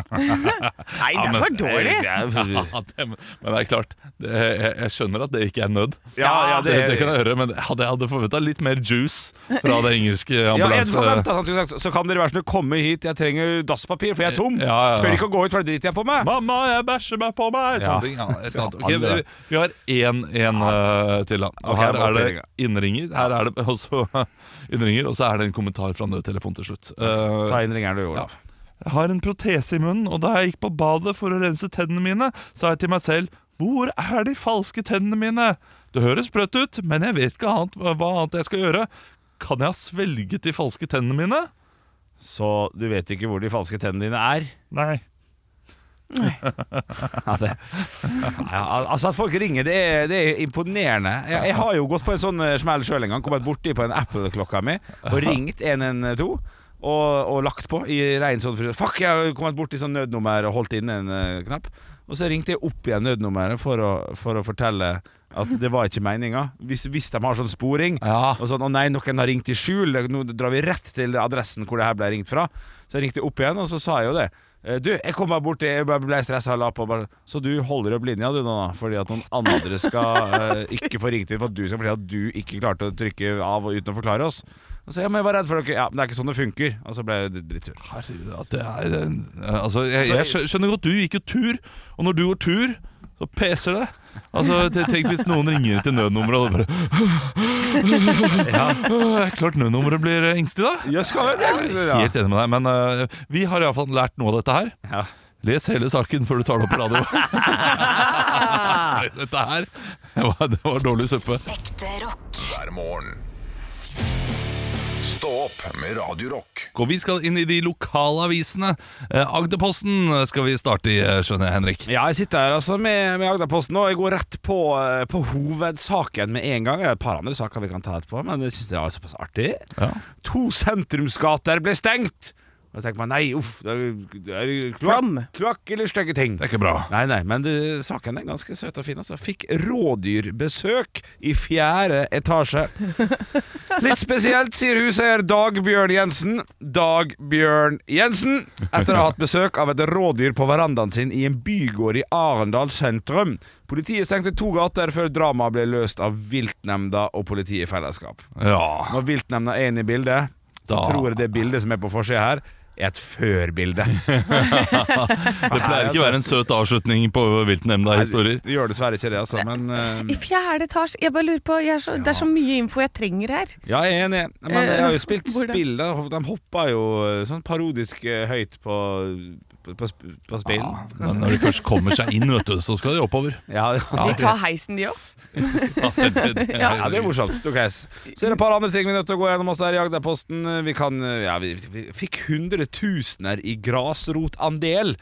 [SPEAKER 3] Nei, det er for dårlig!
[SPEAKER 4] ja, det, Men det er klart det, jeg, jeg skjønner at det ikke er nød
[SPEAKER 2] Ja, ja,
[SPEAKER 4] det,
[SPEAKER 2] det,
[SPEAKER 4] det kan jeg høre Men jeg hadde, jeg hadde forventet litt mer juice Fra det engelske
[SPEAKER 2] ja, jeg
[SPEAKER 4] ambulanse
[SPEAKER 2] forventet at han skulle sagt Så kan dere være snill komme hit, jeg trenger dasspapir, for jeg er tom.
[SPEAKER 4] Ja, ja, ja.
[SPEAKER 2] Tør ikke å gå ut, for det driter jeg på meg.
[SPEAKER 4] Mamma, jeg bæsjer meg på meg!
[SPEAKER 2] Ja.
[SPEAKER 4] Sånne ting. Ja, et eller annet. Ok,
[SPEAKER 2] Faen, det der.
[SPEAKER 4] vi, vi har én én eh, til, da. Og
[SPEAKER 2] Ok,
[SPEAKER 4] her
[SPEAKER 2] da må
[SPEAKER 4] er det
[SPEAKER 2] opprinninga.
[SPEAKER 4] innringer, her er det også innringer, og så er det en kommentar fra nødtelefonen til slutt. Eh,
[SPEAKER 2] Ta inn ringeren du, Olav.
[SPEAKER 4] jeg har en protese i munnen, og da jeg gikk på badet for å rense tennene mine, sa jeg til meg selv Hvor er de falske tennene mine? Det høres sprøtt ut, men jeg vet ikke annet, hva annet jeg skal gjøre. Kan jeg ha svelget de falske tennene mine?
[SPEAKER 2] Så du vet ikke hvor de falske tennene dine er?
[SPEAKER 4] Nei.
[SPEAKER 2] Ja, det. Ja, al- altså At folk ringer, det er, det er imponerende. Jeg, jeg har jo gått på en sånn eh, smell sjøl en gang. Kommet borti på en Apple-klokka mi og ringt 112. og, og lagt på i rein sånn frykt. Fuck, jeg har kommet borti sånn nødnummer og holdt inne en eh, knapp. Og så ringte jeg opp igjen nødnummeret for å, for å fortelle at det var ikke meninga. Hvis, hvis de har sånn sporing
[SPEAKER 4] Ja.
[SPEAKER 2] og sånn 'Å nei, noen har ringt i skjul', nå drar vi rett til adressen hvor det her ble ringt fra. Så jeg ringte opp igjen, og så sa jeg jo det. Eh, Du, jeg kom bare bort, jeg bare ble stressa og la på. Bare. Så du holder opp linja du nå, da, fordi at noen andre skal eh, ikke få ringt inn for at du skal fortelle at du ikke klarte å trykke av og uten å forklare oss. Og så, ja, men jeg var redd for dere. Ja, men det er ikke sånn det funker. Og så ble jeg drittsur.
[SPEAKER 4] Herregud, at det er en, altså, jeg, jeg skjø- skjønner godt, du gikk jo tur, og når du går tur, så peser det. Altså, te- Tenk hvis noen ringer til nødnummeret og det bare ja. Klart nødnummeret blir eh, engstelig da.
[SPEAKER 2] Ja, skal jeg bli engstelig, ja.
[SPEAKER 4] Helt enig med deg, men eh, vi har iallfall lært noe av dette her.
[SPEAKER 2] Ja.
[SPEAKER 4] Les hele saken før du tar det opp på radio. dette her det var, det var dårlig suppe.
[SPEAKER 7] Ekte rock.
[SPEAKER 1] hver morgen. Stå opp med Radio Rock.
[SPEAKER 4] Og vi skal inn i de lokale avisene. Eh, Agderposten skal vi starte i, eh, skjønner jeg, Henrik.
[SPEAKER 2] Ja, jeg sitter her altså med, med Agderposten og jeg går rett på, eh, på hovedsaken med en gang. Det er et par andre saker vi kan ta etterpå, men jeg syns det er såpass artig.
[SPEAKER 4] Ja.
[SPEAKER 2] To sentrumsgater ble stengt! Og Da tenker man nei, uff, det er, det er kloakk,
[SPEAKER 3] Fram.
[SPEAKER 2] kloakk eller stygge ting.
[SPEAKER 4] Det er ikke bra.
[SPEAKER 2] Nei, nei, men det, saken er ganske søt og fin. Altså. Fikk rådyrbesøk i fjerde etasje. Litt spesielt, sier huseier Dagbjørn Jensen. Dagbjørn Jensen! Etter å ha hatt besøk av et rådyr på verandaen sin i en bygård i Arendal sentrum. Politiet stengte to gater før dramaet ble løst av viltnemnda og politiet i fellesskap.
[SPEAKER 4] Ja.
[SPEAKER 2] Når viltnemnda er inne i bildet, så
[SPEAKER 4] Da-
[SPEAKER 2] tror jeg det bildet som er på forsida her, er et før-bilde.
[SPEAKER 4] Det pleier
[SPEAKER 2] altså-
[SPEAKER 4] ikke å være en søt avslutning på viltnemnda-historier.
[SPEAKER 2] Vi gjør dessverre ikke det, altså, men eh,
[SPEAKER 3] I fjerde etasje Jeg bare lurer på jeg er så, Det er så mye info jeg trenger her.
[SPEAKER 2] Ja, jeg er enig. Men jeg har jo spilt
[SPEAKER 3] Eh, Hvordan?
[SPEAKER 2] spill. da. De hopper jo sånn parodisk eh, høyt på, på, på, sp- på spill.
[SPEAKER 3] Ah.
[SPEAKER 4] Men når de først kommer seg inn, vet du, så skal de oppover.
[SPEAKER 2] Ja,
[SPEAKER 3] De
[SPEAKER 2] ja.
[SPEAKER 3] tar heisen, de òg.
[SPEAKER 4] Ja, det,
[SPEAKER 2] ja, det er morsomt. Ok, s- Så er det et par andre ting vi er nødt til å gå gjennom oss her i Agderposten. Vi kan eh, Ja, vi, vi fikk hundretusener i grasrotandel.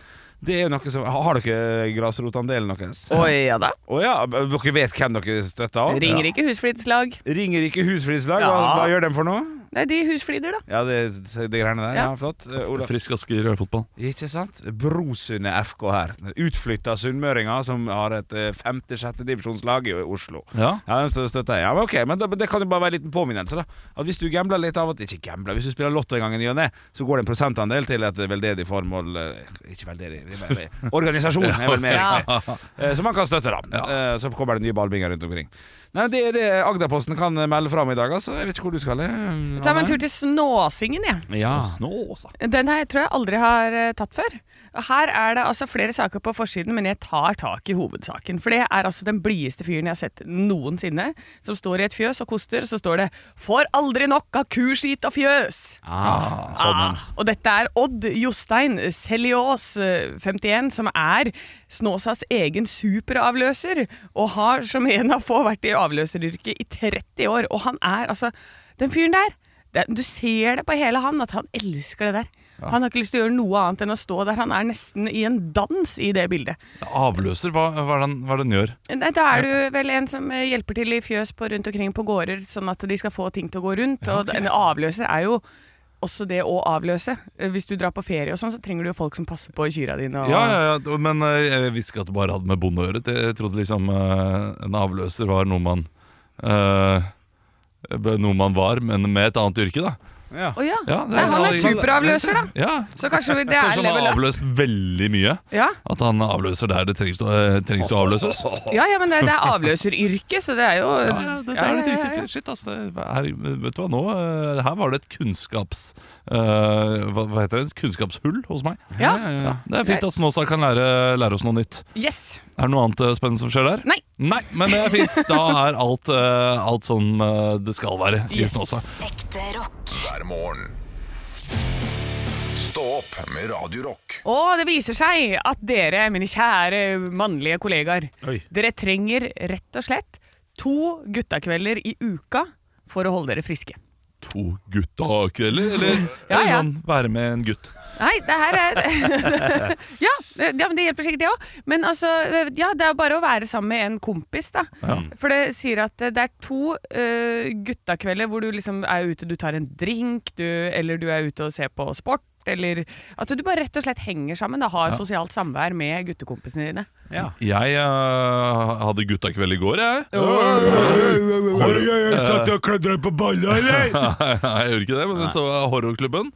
[SPEAKER 2] Det er jo noe som Har dere grasrotandelen deres? Å
[SPEAKER 3] Oi, ja da.
[SPEAKER 2] ja, Eh, dere vet hvem dere støtter? Ja.
[SPEAKER 3] Ringerike husflidslag.
[SPEAKER 2] Ringerike husflidslag, hva,
[SPEAKER 3] Ja.
[SPEAKER 2] hva gjør de for noe?
[SPEAKER 3] Nei, de husflider, da.
[SPEAKER 2] Ja, det, det greiene der. Ja,
[SPEAKER 3] Ja.
[SPEAKER 2] flott. Eh, Ola?
[SPEAKER 4] Frisk Asker i fotball.
[SPEAKER 2] Ikke sant? Brosundet FK her. Utflytta sunnmøringer som har et eh, femte-sjettedivisjonslag i Oslo.
[SPEAKER 4] Ja.
[SPEAKER 2] Ja, den stø- støtter jeg. Ja, men ok, men det, det kan jo bare være en liten påminnelse, da. At hvis du gambler litt av at Ikke gambler, hvis du spiller lotto en gang i ny og ne, så går det en prosentandel til et veldedig formål eh, Ikke veldedig det er mer- Organisasjon er vel mer
[SPEAKER 3] Ja.
[SPEAKER 2] riktig. Eh, Som man kan støtte, da. Eh, Så kommer det nye ballbinger rundt omkring. Nei, Det er det Agderposten kan melde fra om i dag, altså. Jeg vet ikke hvor du skal. eh,
[SPEAKER 3] Ta meg
[SPEAKER 2] Anne.
[SPEAKER 3] en tur til Snåsingen, jeg.
[SPEAKER 2] Ja. altså.
[SPEAKER 4] Snåsa.
[SPEAKER 3] Den her tror jeg aldri har eh, tatt før. Og Her er det altså flere saker på forsiden, men jeg tar tak i hovedsaken. For det er altså den blideste fyren jeg har sett noensinne, som står i et fjøs og koster, og så står det 'Får aldri nok av kuskit og fjøs'.
[SPEAKER 2] Ah, sånn en.
[SPEAKER 3] Ah, og dette er Odd Jostein Seljås, eh, 51, som er Snåsas egen superavløser, og har som en av få vært i avløseryrket i 30 år. Og han er altså Den fyren der, det, du ser det på hele han at han elsker det der. Han har ikke lyst til å gjøre noe annet enn å stå der. Han er nesten i en dans i det bildet.
[SPEAKER 4] Avløser, hva, hva, er den, hva er den gjør?
[SPEAKER 3] Nei, da er du vel en som eh, hjelper til i fjøs på rundt omkring på gårder, sånn at de skal få ting til å gå rundt. Og en avløser er jo også det å avløse. Eh, Hvis du drar på ferie og sånn, så trenger du jo folk som passer på kyrne dine. Og...
[SPEAKER 4] Ja, ja, ja, men eh, jeg visste ikke at det bare hadde med bonde å gjøre. Jeg trodde liksom eh, en avløser var noe man eh, Noe man var, men med et annet yrke, da.
[SPEAKER 2] Ja.
[SPEAKER 3] Å ja.
[SPEAKER 4] Ja, det er
[SPEAKER 3] Nei, han er
[SPEAKER 4] sånn-
[SPEAKER 3] superavløser, da.
[SPEAKER 4] Ja,
[SPEAKER 3] Så kanskje det er
[SPEAKER 4] Kanskje han
[SPEAKER 3] level
[SPEAKER 4] har
[SPEAKER 3] up.
[SPEAKER 4] avløst veldig mye.
[SPEAKER 3] Ja.
[SPEAKER 4] At han avløser der det trengs, eh, trengs å avløses.
[SPEAKER 3] Ja, ja, men det, det er avløseryrke, så det er jo
[SPEAKER 4] Ja, ja, det, det er litt riktig. Shit, ass. det er- vet du hva, nå eh, Her var det et kunnskaps... eh, hva, hva heter det? Et kunnskapshull hos meg.
[SPEAKER 3] Ja.
[SPEAKER 4] Ja, det er fint at Snåsa kan lære, lære oss noe nytt.
[SPEAKER 3] Yes.
[SPEAKER 4] Er det noe annet eh, spennende som skjer der?
[SPEAKER 3] Nei.
[SPEAKER 4] Nei, men det er fint. Da er alt, eh, alt som eh, det skal være i
[SPEAKER 3] Yes.
[SPEAKER 4] Snåsa.
[SPEAKER 7] Ekte rock.
[SPEAKER 1] hver morgen. Stå opp med Radio Rock.
[SPEAKER 3] Og det viser seg at dere, mine kjære mannlige kollegaer,
[SPEAKER 2] Oi.
[SPEAKER 3] dere trenger rett og slett to guttakvelder i uka for å holde dere friske.
[SPEAKER 4] to guttakvelder, eller,
[SPEAKER 3] Ja,
[SPEAKER 4] eller
[SPEAKER 3] ja.
[SPEAKER 4] sånn være med en gutt.
[SPEAKER 3] Nei, det her er ja, det, ja, men det hjelper sikkert det òg. Men altså, ja, det er bare å være sammen med en kompis, da. For det sier at det er to uh, guttakvelder hvor du liksom er ute, du tar en drink, du, eller du er ute og ser på sport. Eller at du bare rett og slett henger sammen. Da, har sosialt samvær med guttekompisene dine.
[SPEAKER 2] Ja.
[SPEAKER 4] Jeg eh, hadde guttakveld i går, jeg.
[SPEAKER 2] Satt du og klødde deg på balla, eller?
[SPEAKER 4] Nei, jeg gjorde ikke det, men jeg så horrorklubben.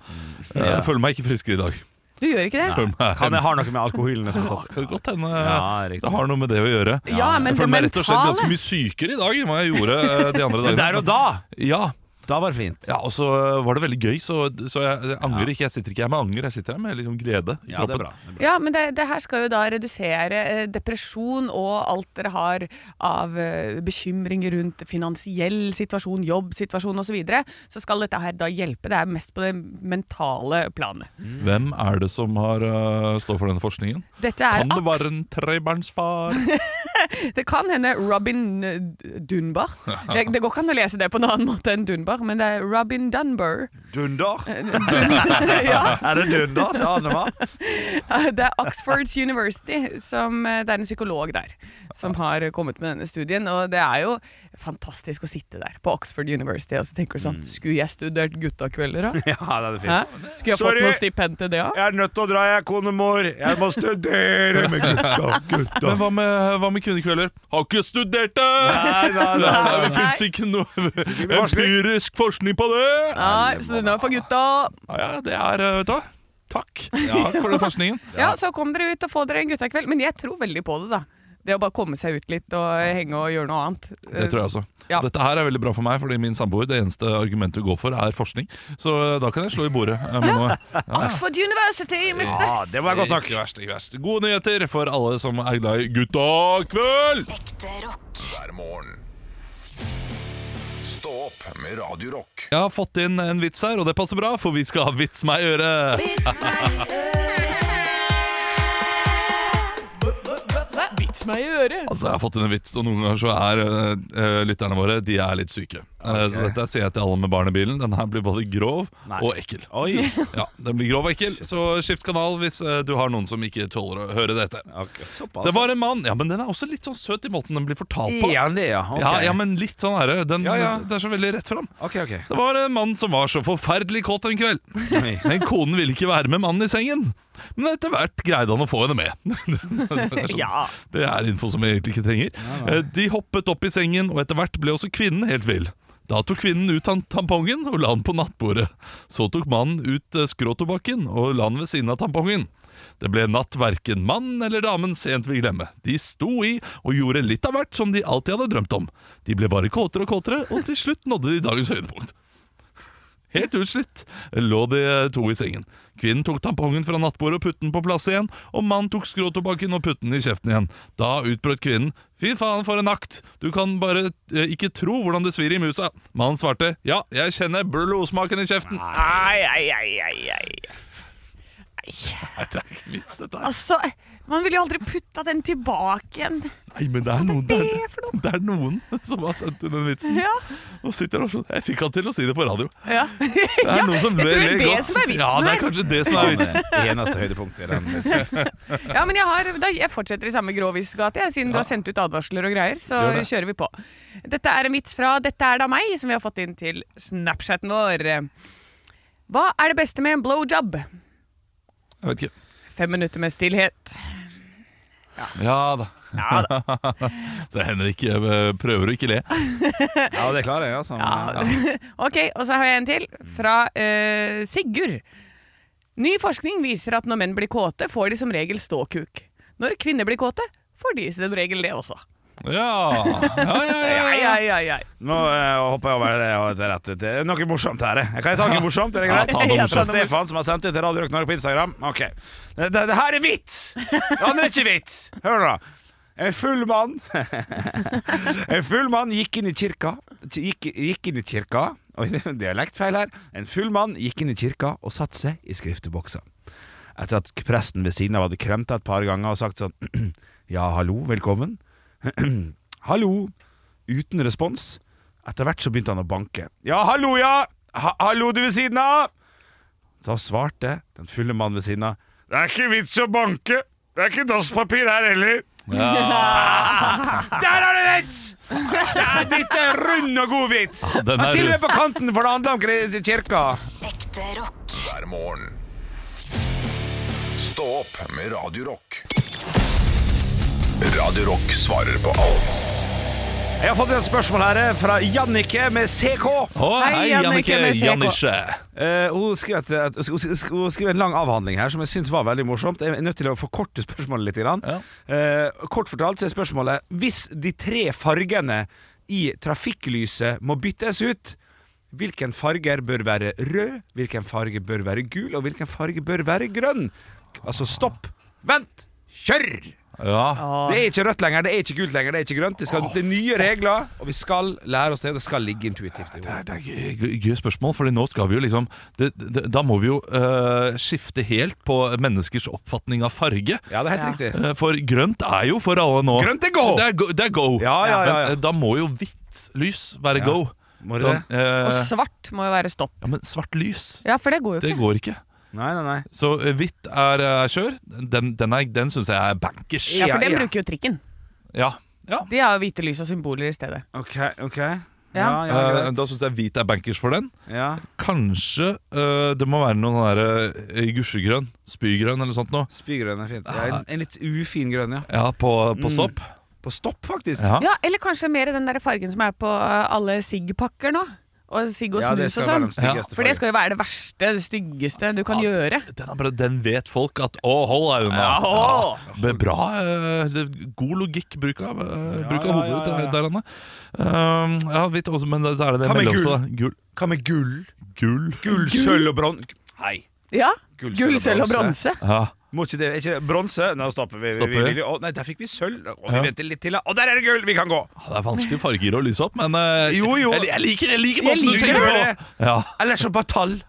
[SPEAKER 4] Eh, Jeg føler meg ikke friskere i dag.
[SPEAKER 3] Du gjør ikke det?
[SPEAKER 4] Føler meg-
[SPEAKER 2] Kan jeg ha noe med alkoholen? som er satt?
[SPEAKER 4] Kan godt hende
[SPEAKER 3] Eh,
[SPEAKER 2] Ja, riktig.
[SPEAKER 4] det har noe med det å gjøre.
[SPEAKER 3] Ja, men
[SPEAKER 4] jeg
[SPEAKER 3] det
[SPEAKER 4] føler meg rett og slett ganske
[SPEAKER 3] mentale
[SPEAKER 4] mye sykere i dag enn hva jeg gjorde eh, de andre dagene.
[SPEAKER 2] Men der og da!
[SPEAKER 4] Ja,
[SPEAKER 2] Da var det fint.
[SPEAKER 4] ja og så eh, var det veldig gøy, så, så jeg, jeg angrer ikke. Jeg sitter ikke her med anger, jeg sitter her med liksom glede i
[SPEAKER 2] Ja, det er
[SPEAKER 4] kroppen.
[SPEAKER 2] bra. Det er bra.
[SPEAKER 3] Ja, men det, det her skal jo da redusere eh, depresjon og alt dere har av eh, bekymringer rundt finansiell situasjon, jobbsituasjon osv. Så, videre. så skal dette her da hjelpe. Det er mest på det mentale planet.
[SPEAKER 2] Mm.
[SPEAKER 4] Hvem er det som har eh, står for denne forskningen?
[SPEAKER 3] Dette er
[SPEAKER 4] Kan det
[SPEAKER 3] Aks-
[SPEAKER 4] være en trebarnsfar?
[SPEAKER 3] Det kan hende Robin eh, Dunbar. Jeg, det går ikke an å lese det på noen annen måte enn Dunbar, men det er Robin Dunbar.
[SPEAKER 2] Dunder?
[SPEAKER 3] Eh, ja.
[SPEAKER 2] Er det dunder? Ja, det var.
[SPEAKER 3] Det er Oxford University, som, eh, det er en psykolog der, som har eh, kommet med denne studien. Og det er jo fantastisk å sitte der på Oxford University og så tenker du
[SPEAKER 4] Mm.
[SPEAKER 3] sånn Skulle jeg studert guttakvelder, da?
[SPEAKER 2] Ja, det er
[SPEAKER 3] Hæ?
[SPEAKER 2] fint.
[SPEAKER 3] Skulle jeg
[SPEAKER 2] Sorry.
[SPEAKER 3] fått noe stipend til det, da?
[SPEAKER 2] Jeg er nødt til å dra, jeg, konemor. Jeg må studere med gutta. gutta.
[SPEAKER 4] Men hva med, hva med kvinnekvelder? Har ikke studert det!
[SPEAKER 2] Nei, nei,
[SPEAKER 4] Det,
[SPEAKER 2] nei.
[SPEAKER 4] det fins ikke noe empirisk forskning på det!
[SPEAKER 3] Nei, så den er for gutta.
[SPEAKER 4] Ja, ja, det er eh, Vet du hva? Takk. Takk for den forskningen.
[SPEAKER 3] Ja, så kom dere ut og få dere en guttakveld. Men jeg tror veldig på det, da. Det å bare komme seg ut litt og henge og gjøre noe annet.
[SPEAKER 4] Det tror jeg også.
[SPEAKER 3] Ja.
[SPEAKER 4] Dette her er veldig bra for meg, fordi min samboer det eneste argumentet hun går for, er forskning. Så eh, da kan jeg slå i bordet. eh, Med noe.
[SPEAKER 3] Oxford University,
[SPEAKER 2] Ja,
[SPEAKER 3] mister!
[SPEAKER 2] Ah, det var godt nok.
[SPEAKER 4] Ikke verst, ikke verst. Gode nyheter for alle som er glad i Gutta kveld!
[SPEAKER 7] Ekte rock.
[SPEAKER 1] hver morgen. Stå opp med Radio Rock.
[SPEAKER 4] Jeg har fått inn en vits her, og det passer bra, for vi skal ha Vits meg i øret.
[SPEAKER 3] Vits meg i øret.
[SPEAKER 4] Altså, Jeg har fått inn en vits, og noen ganger så er øh, øh, lytterne våre De er litt syke. Eh, så dette sier jeg til alle med barn i bilen. Den her blir både grov
[SPEAKER 2] Nei.
[SPEAKER 4] og ekkel.
[SPEAKER 2] Oi.
[SPEAKER 4] Ja, den blir grov og ekkel, så skift kanal hvis øh, du har noen som ikke tåler å høre dette.
[SPEAKER 2] Såpass.
[SPEAKER 4] Det var en mann Ja, men den er også litt sånn søt i måten den blir fortalt på.
[SPEAKER 2] Er han det, altså- ja? Ok.
[SPEAKER 4] Ja, ja, men litt sånn er det. Den,
[SPEAKER 2] Ja, ja.
[SPEAKER 4] Det er så veldig rett fram.
[SPEAKER 2] Ok, ok.
[SPEAKER 4] Det var en mann som var så forferdelig kåt en kveld.
[SPEAKER 2] Oi.
[SPEAKER 4] Men konen ville ikke være med mannen i sengen. Men etter hvert greide han å få henne med. sånn.
[SPEAKER 3] Ja.
[SPEAKER 4] Det er info som jeg egentlig ikke trenger. Eh, De hoppet opp i sengen, og etter hvert ble også kvinnen helt vill. Da tok kvinnen ut tan- tampongen og la den på nattbordet. Så tok mannen ut eh, skråtobakken og la den ved siden av tampongen. Det ble natt hverken mannen eller damen sent vil glemme. De sto i og gjorde litt av hvert som de alltid hadde drømt om. De ble bare kåtere og kåtere, og til slutt nådde de dagens høydepunkt. Helt utslitt lå de eh, to i sengen. Kvinnen tok tampongen fra nattbordet og putten på plass igjen, og mannen tok skråtobakken og putten i kjeften igjen. Da utbrøt kvinnen 'Fy faen, for en akt! Du kan bare eh, ikke tro hvordan det svir i musa!' Mannen svarte 'Ja, jeg kjenner blodsmaken i kjeften'. Nei,
[SPEAKER 3] Ai, ai, ai, ai, ai.
[SPEAKER 4] det er ikke vits, dette her.
[SPEAKER 3] Altså, man ville jo aldri putta den tilbake igjen.
[SPEAKER 4] Nei, men det er noen
[SPEAKER 3] er
[SPEAKER 4] det
[SPEAKER 3] det for
[SPEAKER 4] er, det er noen som har sendt inn den vitsen.
[SPEAKER 3] Ja.
[SPEAKER 4] Og sitter og sånn Jeg fikk han til å si det på radio.
[SPEAKER 3] ja.
[SPEAKER 4] Det er noen som
[SPEAKER 3] jeg tror det er
[SPEAKER 4] ler
[SPEAKER 3] det
[SPEAKER 4] godt.
[SPEAKER 3] som er vitsen
[SPEAKER 4] ja, det er
[SPEAKER 3] her.
[SPEAKER 4] kanskje det som er vitsen.
[SPEAKER 2] Eneste høydepunkt i den.
[SPEAKER 3] ja, men jeg, har, da, jeg fortsetter i samme grovisgate, jeg, siden du har sendt ut advarsler og greier. Så
[SPEAKER 4] Gjør det.
[SPEAKER 3] kjører vi på. Dette er en vits fra 'Dette er da meg', som vi har fått inn til Snapchaten vår. Hva er det beste med en blowjob?
[SPEAKER 4] Jeg vet ikke.
[SPEAKER 3] Fem minutter med stillhet.
[SPEAKER 4] Ja da.
[SPEAKER 3] Ja da.
[SPEAKER 4] Så Henrik eh, prøver å ikke le.
[SPEAKER 2] Ja, det klarer jeg, altså.
[SPEAKER 3] Ja. ok, og så har jeg en til, fra eh, Sigurd. Ny forskning viser at når menn blir kåte, får de som regel ståkuk. Når kvinner blir kåte, får de som regel det også.
[SPEAKER 4] Ja, ja, ja, ja,
[SPEAKER 3] Ai,
[SPEAKER 4] ja.
[SPEAKER 3] ai, ai, ai.
[SPEAKER 2] Nå eh, hopper jeg over det og til rett Det er noe morsomt her. jeg. Kan jeg ta noe morsomt? Er det
[SPEAKER 4] Ja,
[SPEAKER 2] greit?
[SPEAKER 4] ta noe morsomt.
[SPEAKER 2] Fra Stefan, som har sendt det til Radio Rock Norge på Instagram. Ok. Det, det, det her er vits! Det andre er ikke vits. Hør nå. En full mann En full mann gikk inn i kirka Gikk, gikk inn i kirka Oi, det er dialektfeil her. En full mann gikk inn i kirka og satte seg i skrifteboksa. Etter at presten ved siden av hadde kremta et par ganger og sagt sånn Ja, hallo, velkommen. hallo. Uten respons. Etter hvert så begynte han å banke. Ja, hallo, ja! ha 'Hallo, du ved siden av!' Da svarte den fulle mannen ved siden av 'Det er ikke vits å banke. Det er ikke dasspapir her heller.' Der er det vits! Det er dette er rund og god vits.
[SPEAKER 4] den er
[SPEAKER 2] Men til og med
[SPEAKER 4] rund.
[SPEAKER 2] på kanten, for det handler om kre- kirka.
[SPEAKER 7] Ekte rock.
[SPEAKER 1] hver morgen. Stå opp med Radio Rock. Radio Rock svarer på alt
[SPEAKER 2] Jeg har fått et spørsmål her eh, fra Jannicke med CK.
[SPEAKER 4] Å,
[SPEAKER 3] Hei,
[SPEAKER 4] hei,
[SPEAKER 3] Jannicke
[SPEAKER 4] Jannicke
[SPEAKER 3] med CK.
[SPEAKER 4] Jannische.
[SPEAKER 2] Eh, hun, skrev at, at, hun, sk- hun skrev en lang avhandling her som jeg syns var veldig morsomt. Jeg er nødt til å forkorte spørsmålet litt. Grann.
[SPEAKER 4] Ja.
[SPEAKER 2] Eh, kort fortalt så er spørsmålet Hvis de tre fargene i trafikklyset må byttes ut, hvilken farger bør være rød, hvilken farge bør være gul, og hvilken farge bør være grønn? Altså stopp, vent, kjør!
[SPEAKER 4] Ja.
[SPEAKER 2] Det er ikke rødt lenger, det er ikke gult lenger, det er ikke grønt. Det, skal, det er nye regler, og vi skal lære oss det. og Det skal ligge intuitivt i hodet.
[SPEAKER 4] Det er gøy- gøy gøy spørsmål, Fordi nå skal vi jo liksom det, det, Da må vi jo eh, skifte helt på menneskers oppfatning av farge.
[SPEAKER 2] Ja, det er helt riktig.
[SPEAKER 4] Eh, For grønt er jo for alle nå.
[SPEAKER 2] Grønt er go!
[SPEAKER 4] Det er go! Det er go.
[SPEAKER 2] Ja, ja, ja, ja.
[SPEAKER 4] Men eh, da må jo hvitt lys være
[SPEAKER 2] Ja.
[SPEAKER 4] go.
[SPEAKER 2] Må det
[SPEAKER 4] Sånn,
[SPEAKER 3] Og
[SPEAKER 4] eh,
[SPEAKER 3] svart må jo være stopp.
[SPEAKER 4] ja, men svart lys,
[SPEAKER 3] Ja, for det går jo
[SPEAKER 4] det
[SPEAKER 3] ikke.
[SPEAKER 4] går ikke.
[SPEAKER 2] Nei, nei, nei.
[SPEAKER 4] Så eh, hvitt er eh, kjør. Den, den, er- den syns jeg er bankers.
[SPEAKER 3] Ja, for
[SPEAKER 2] Ja,
[SPEAKER 3] den
[SPEAKER 2] ja.
[SPEAKER 3] bruker jo trikken.
[SPEAKER 4] Ja. ja.
[SPEAKER 3] De har jo hvite lys og symboler i stedet.
[SPEAKER 2] Ok, ok. Ja,
[SPEAKER 3] Ja.
[SPEAKER 2] ja,
[SPEAKER 4] Eh,
[SPEAKER 2] greit.
[SPEAKER 4] da syns jeg hvit er bankers for den.
[SPEAKER 2] ja.
[SPEAKER 4] Kanskje eh, det må være noe der, eh, gusjegrønn, spygrønn eller sånt noe.
[SPEAKER 2] Spygrønn er fint.
[SPEAKER 4] Ah.
[SPEAKER 2] Ja, en, en litt ufin grønn, ja.
[SPEAKER 4] Ja, på,
[SPEAKER 2] Mm.
[SPEAKER 4] på stopp.
[SPEAKER 2] På stopp, faktisk.
[SPEAKER 4] Ja.
[SPEAKER 3] Ja, eller kanskje mer den der fargen som er på eh, alle sigg-pakker nå. Og sigg og
[SPEAKER 2] Ja, det skal
[SPEAKER 3] snus og
[SPEAKER 2] være
[SPEAKER 3] sånn.
[SPEAKER 2] den styggeste
[SPEAKER 3] For det skal jo være det verste, det styggeste du kan gjøre.
[SPEAKER 4] Den, er bra, den vet folk at Å, hold deg unna.
[SPEAKER 3] Ja, å.
[SPEAKER 4] Det er bra. eh, det er god logikk, bruk av, eh, bruk av
[SPEAKER 2] ja,
[SPEAKER 4] hodet
[SPEAKER 2] ja, ja, ja.
[SPEAKER 4] der, Anne. Um, ja, vet du også, men da er det det
[SPEAKER 2] Hva med
[SPEAKER 4] mellomste. da. Gull.
[SPEAKER 2] fargen. Hva med gull?
[SPEAKER 4] Gull.
[SPEAKER 2] Gull, sølv og bronse? Nei.
[SPEAKER 3] Ja.
[SPEAKER 2] Gull,
[SPEAKER 3] Gull, sølv og bronse.
[SPEAKER 4] Ja.
[SPEAKER 2] Må ikke det, er ikke det bronse? Nå stopper vi. vi,
[SPEAKER 4] Stopper
[SPEAKER 2] vi,
[SPEAKER 4] vi.
[SPEAKER 2] vil jo- å, nei, der fikk vi sølv. Og vi
[SPEAKER 4] Ja.
[SPEAKER 2] venter litt til. ja. Å, der er det gull! Vi kan gå!
[SPEAKER 4] Det er vanskelige farger å lyse opp, men eh,
[SPEAKER 2] Jo, jo.
[SPEAKER 4] Jeg, jeg liker, jeg liker
[SPEAKER 2] Jeg
[SPEAKER 4] måten
[SPEAKER 2] liker
[SPEAKER 4] du tenker
[SPEAKER 2] det.
[SPEAKER 4] på. Ja.
[SPEAKER 2] Eller så bare tall.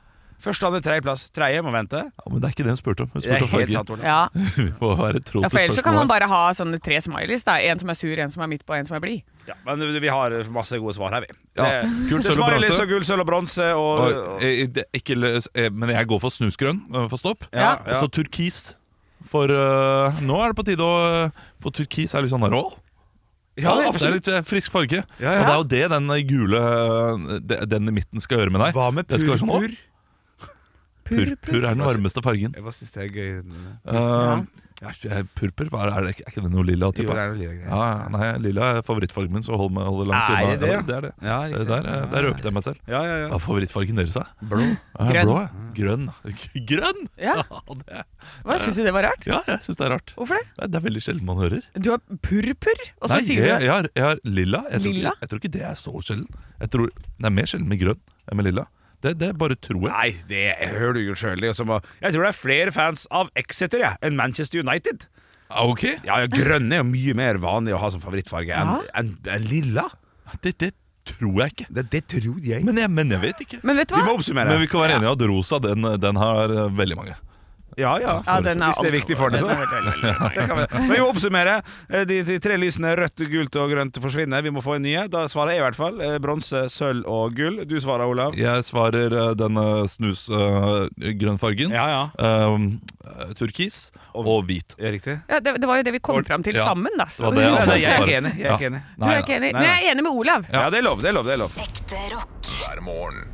[SPEAKER 2] Første, andre, tredjeplass. Tredje må vente.
[SPEAKER 4] ja, Men det er ikke det hun spurte om. Hun
[SPEAKER 2] Det
[SPEAKER 4] spurte
[SPEAKER 2] er
[SPEAKER 4] om
[SPEAKER 2] helt
[SPEAKER 4] farger.
[SPEAKER 2] sant, Ole.
[SPEAKER 3] Ja.
[SPEAKER 4] Vi får være tro
[SPEAKER 3] ja,
[SPEAKER 4] til
[SPEAKER 3] for ellers så kan man
[SPEAKER 4] spørsmålet.
[SPEAKER 3] bare ha sånne tre smileys. da. En som er sur, en som er midt på, en som er blid.
[SPEAKER 2] Ja, men vi har masse gode svar her, vi.
[SPEAKER 4] Ja.
[SPEAKER 2] Det-
[SPEAKER 4] Gull, sølv og
[SPEAKER 2] det smaler
[SPEAKER 4] bronse.
[SPEAKER 2] litt så Gull, sølv og bronse og,
[SPEAKER 4] Og, eh, det, er ikke, løs- eh, men jeg går for snusgrønn eh, for stopp.
[SPEAKER 2] Ja,
[SPEAKER 4] Og så turkis. For eh, nå er det på tide å eh, For turkis er litt sånn rå. Ja, det, er litt eh, frisk farge.
[SPEAKER 2] Ja,
[SPEAKER 4] Og det
[SPEAKER 2] ja.
[SPEAKER 4] er jo det den eh, gule eh, de- Den i midten skal gjøre med deg.
[SPEAKER 2] Hva med
[SPEAKER 4] Det skal være sånn,
[SPEAKER 2] purpur?
[SPEAKER 4] Purpur er den varmeste fargen.
[SPEAKER 2] Hva syns det er gøy?
[SPEAKER 4] Eh, eh, Purpur, hva er, det? er det? ikke- Er ikke det noe lilla?
[SPEAKER 2] Jo,
[SPEAKER 4] Type?
[SPEAKER 2] det er noe lille greier.
[SPEAKER 4] ja, ja, nei, lilla er favorittfargen min, så hold meg hold det langt
[SPEAKER 2] Er
[SPEAKER 4] unna.
[SPEAKER 2] det det,
[SPEAKER 4] Ja,
[SPEAKER 2] ja?
[SPEAKER 4] det er det.
[SPEAKER 2] Ja,
[SPEAKER 4] Eh, Der, eh, der røpte jeg meg selv.
[SPEAKER 2] Ja, ja,
[SPEAKER 4] Hva er favorittfargen deres, da?
[SPEAKER 2] Blå.
[SPEAKER 4] Ja,
[SPEAKER 3] Grønn.
[SPEAKER 4] Blå, ja. Grønn. Grønn!
[SPEAKER 3] Ja.
[SPEAKER 4] det,
[SPEAKER 3] Hva Syns du det var rart?
[SPEAKER 4] ja, jeg syns det er rart.
[SPEAKER 3] Hvorfor det?
[SPEAKER 4] Det er, det er veldig sjelden man hører.
[SPEAKER 3] Du har purpur, og så
[SPEAKER 4] Nei,
[SPEAKER 3] sier
[SPEAKER 4] jeg,
[SPEAKER 3] du det.
[SPEAKER 4] jeg, har, jeg har lilla. Jeg tror,
[SPEAKER 3] Lilla?
[SPEAKER 4] Ikke, jeg tror ikke det er så sjelden. Jeg tror, det er mer sjelden med grønn enn med lilla. Det, det bare tror jeg.
[SPEAKER 2] Nei, det hører du jo sjøl. Jeg tror det er flere fans av Exeter jeg, enn Manchester United.
[SPEAKER 4] Ah, Ok,
[SPEAKER 2] Ja, ja, Grønne er jo mye mer vanlig å ha som favorittfarge enn
[SPEAKER 3] Ja.
[SPEAKER 2] enn- enn lilla.
[SPEAKER 4] det, det tror jeg ikke.
[SPEAKER 2] Det, det tror jeg.
[SPEAKER 4] Men jeg, men jeg vet ikke.
[SPEAKER 3] Men vet du
[SPEAKER 2] Vi må
[SPEAKER 3] hva?
[SPEAKER 2] oppsummere.
[SPEAKER 4] Men vi kan være enige om at rosa den, den har eh, veldig mange.
[SPEAKER 2] Ja, ja.
[SPEAKER 3] Ja, den er
[SPEAKER 2] Hvis det er
[SPEAKER 3] alt-
[SPEAKER 2] viktig for det, så. Det kan vi. Men vi må oppsummere. Eh, De, de tre lysene rødt, gult og grønt forsvinner. Vi må få en nye. Da svarer jeg i hvert fall eh, bronse, sølv og gull. Du svarer, Olav.
[SPEAKER 4] Jeg svarer eh, den eh, snus eh, grønn fargen.
[SPEAKER 2] Ja, ja.
[SPEAKER 4] ehm, eh, turkis og, hvit.
[SPEAKER 2] Er riktig?
[SPEAKER 3] Ja, det, det var jo det vi kom
[SPEAKER 4] Og-
[SPEAKER 3] fram til
[SPEAKER 4] ja.
[SPEAKER 3] sammen, da.
[SPEAKER 4] Det var
[SPEAKER 3] Så.
[SPEAKER 4] det andre
[SPEAKER 2] Nei, nei, jeg er
[SPEAKER 4] svaret.
[SPEAKER 2] ikke enig. Jeg er ikke
[SPEAKER 4] Ja.
[SPEAKER 2] enig.
[SPEAKER 3] Du
[SPEAKER 4] Nei,
[SPEAKER 3] er
[SPEAKER 4] nei.
[SPEAKER 3] ikke enig?
[SPEAKER 2] nei.
[SPEAKER 3] Men jeg er enig med Olav.
[SPEAKER 2] Ja, det er lov. det er lov, det er lov
[SPEAKER 7] Ekte rock.
[SPEAKER 1] hver morgen.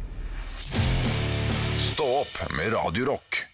[SPEAKER 1] Stå opp med Radio Rock.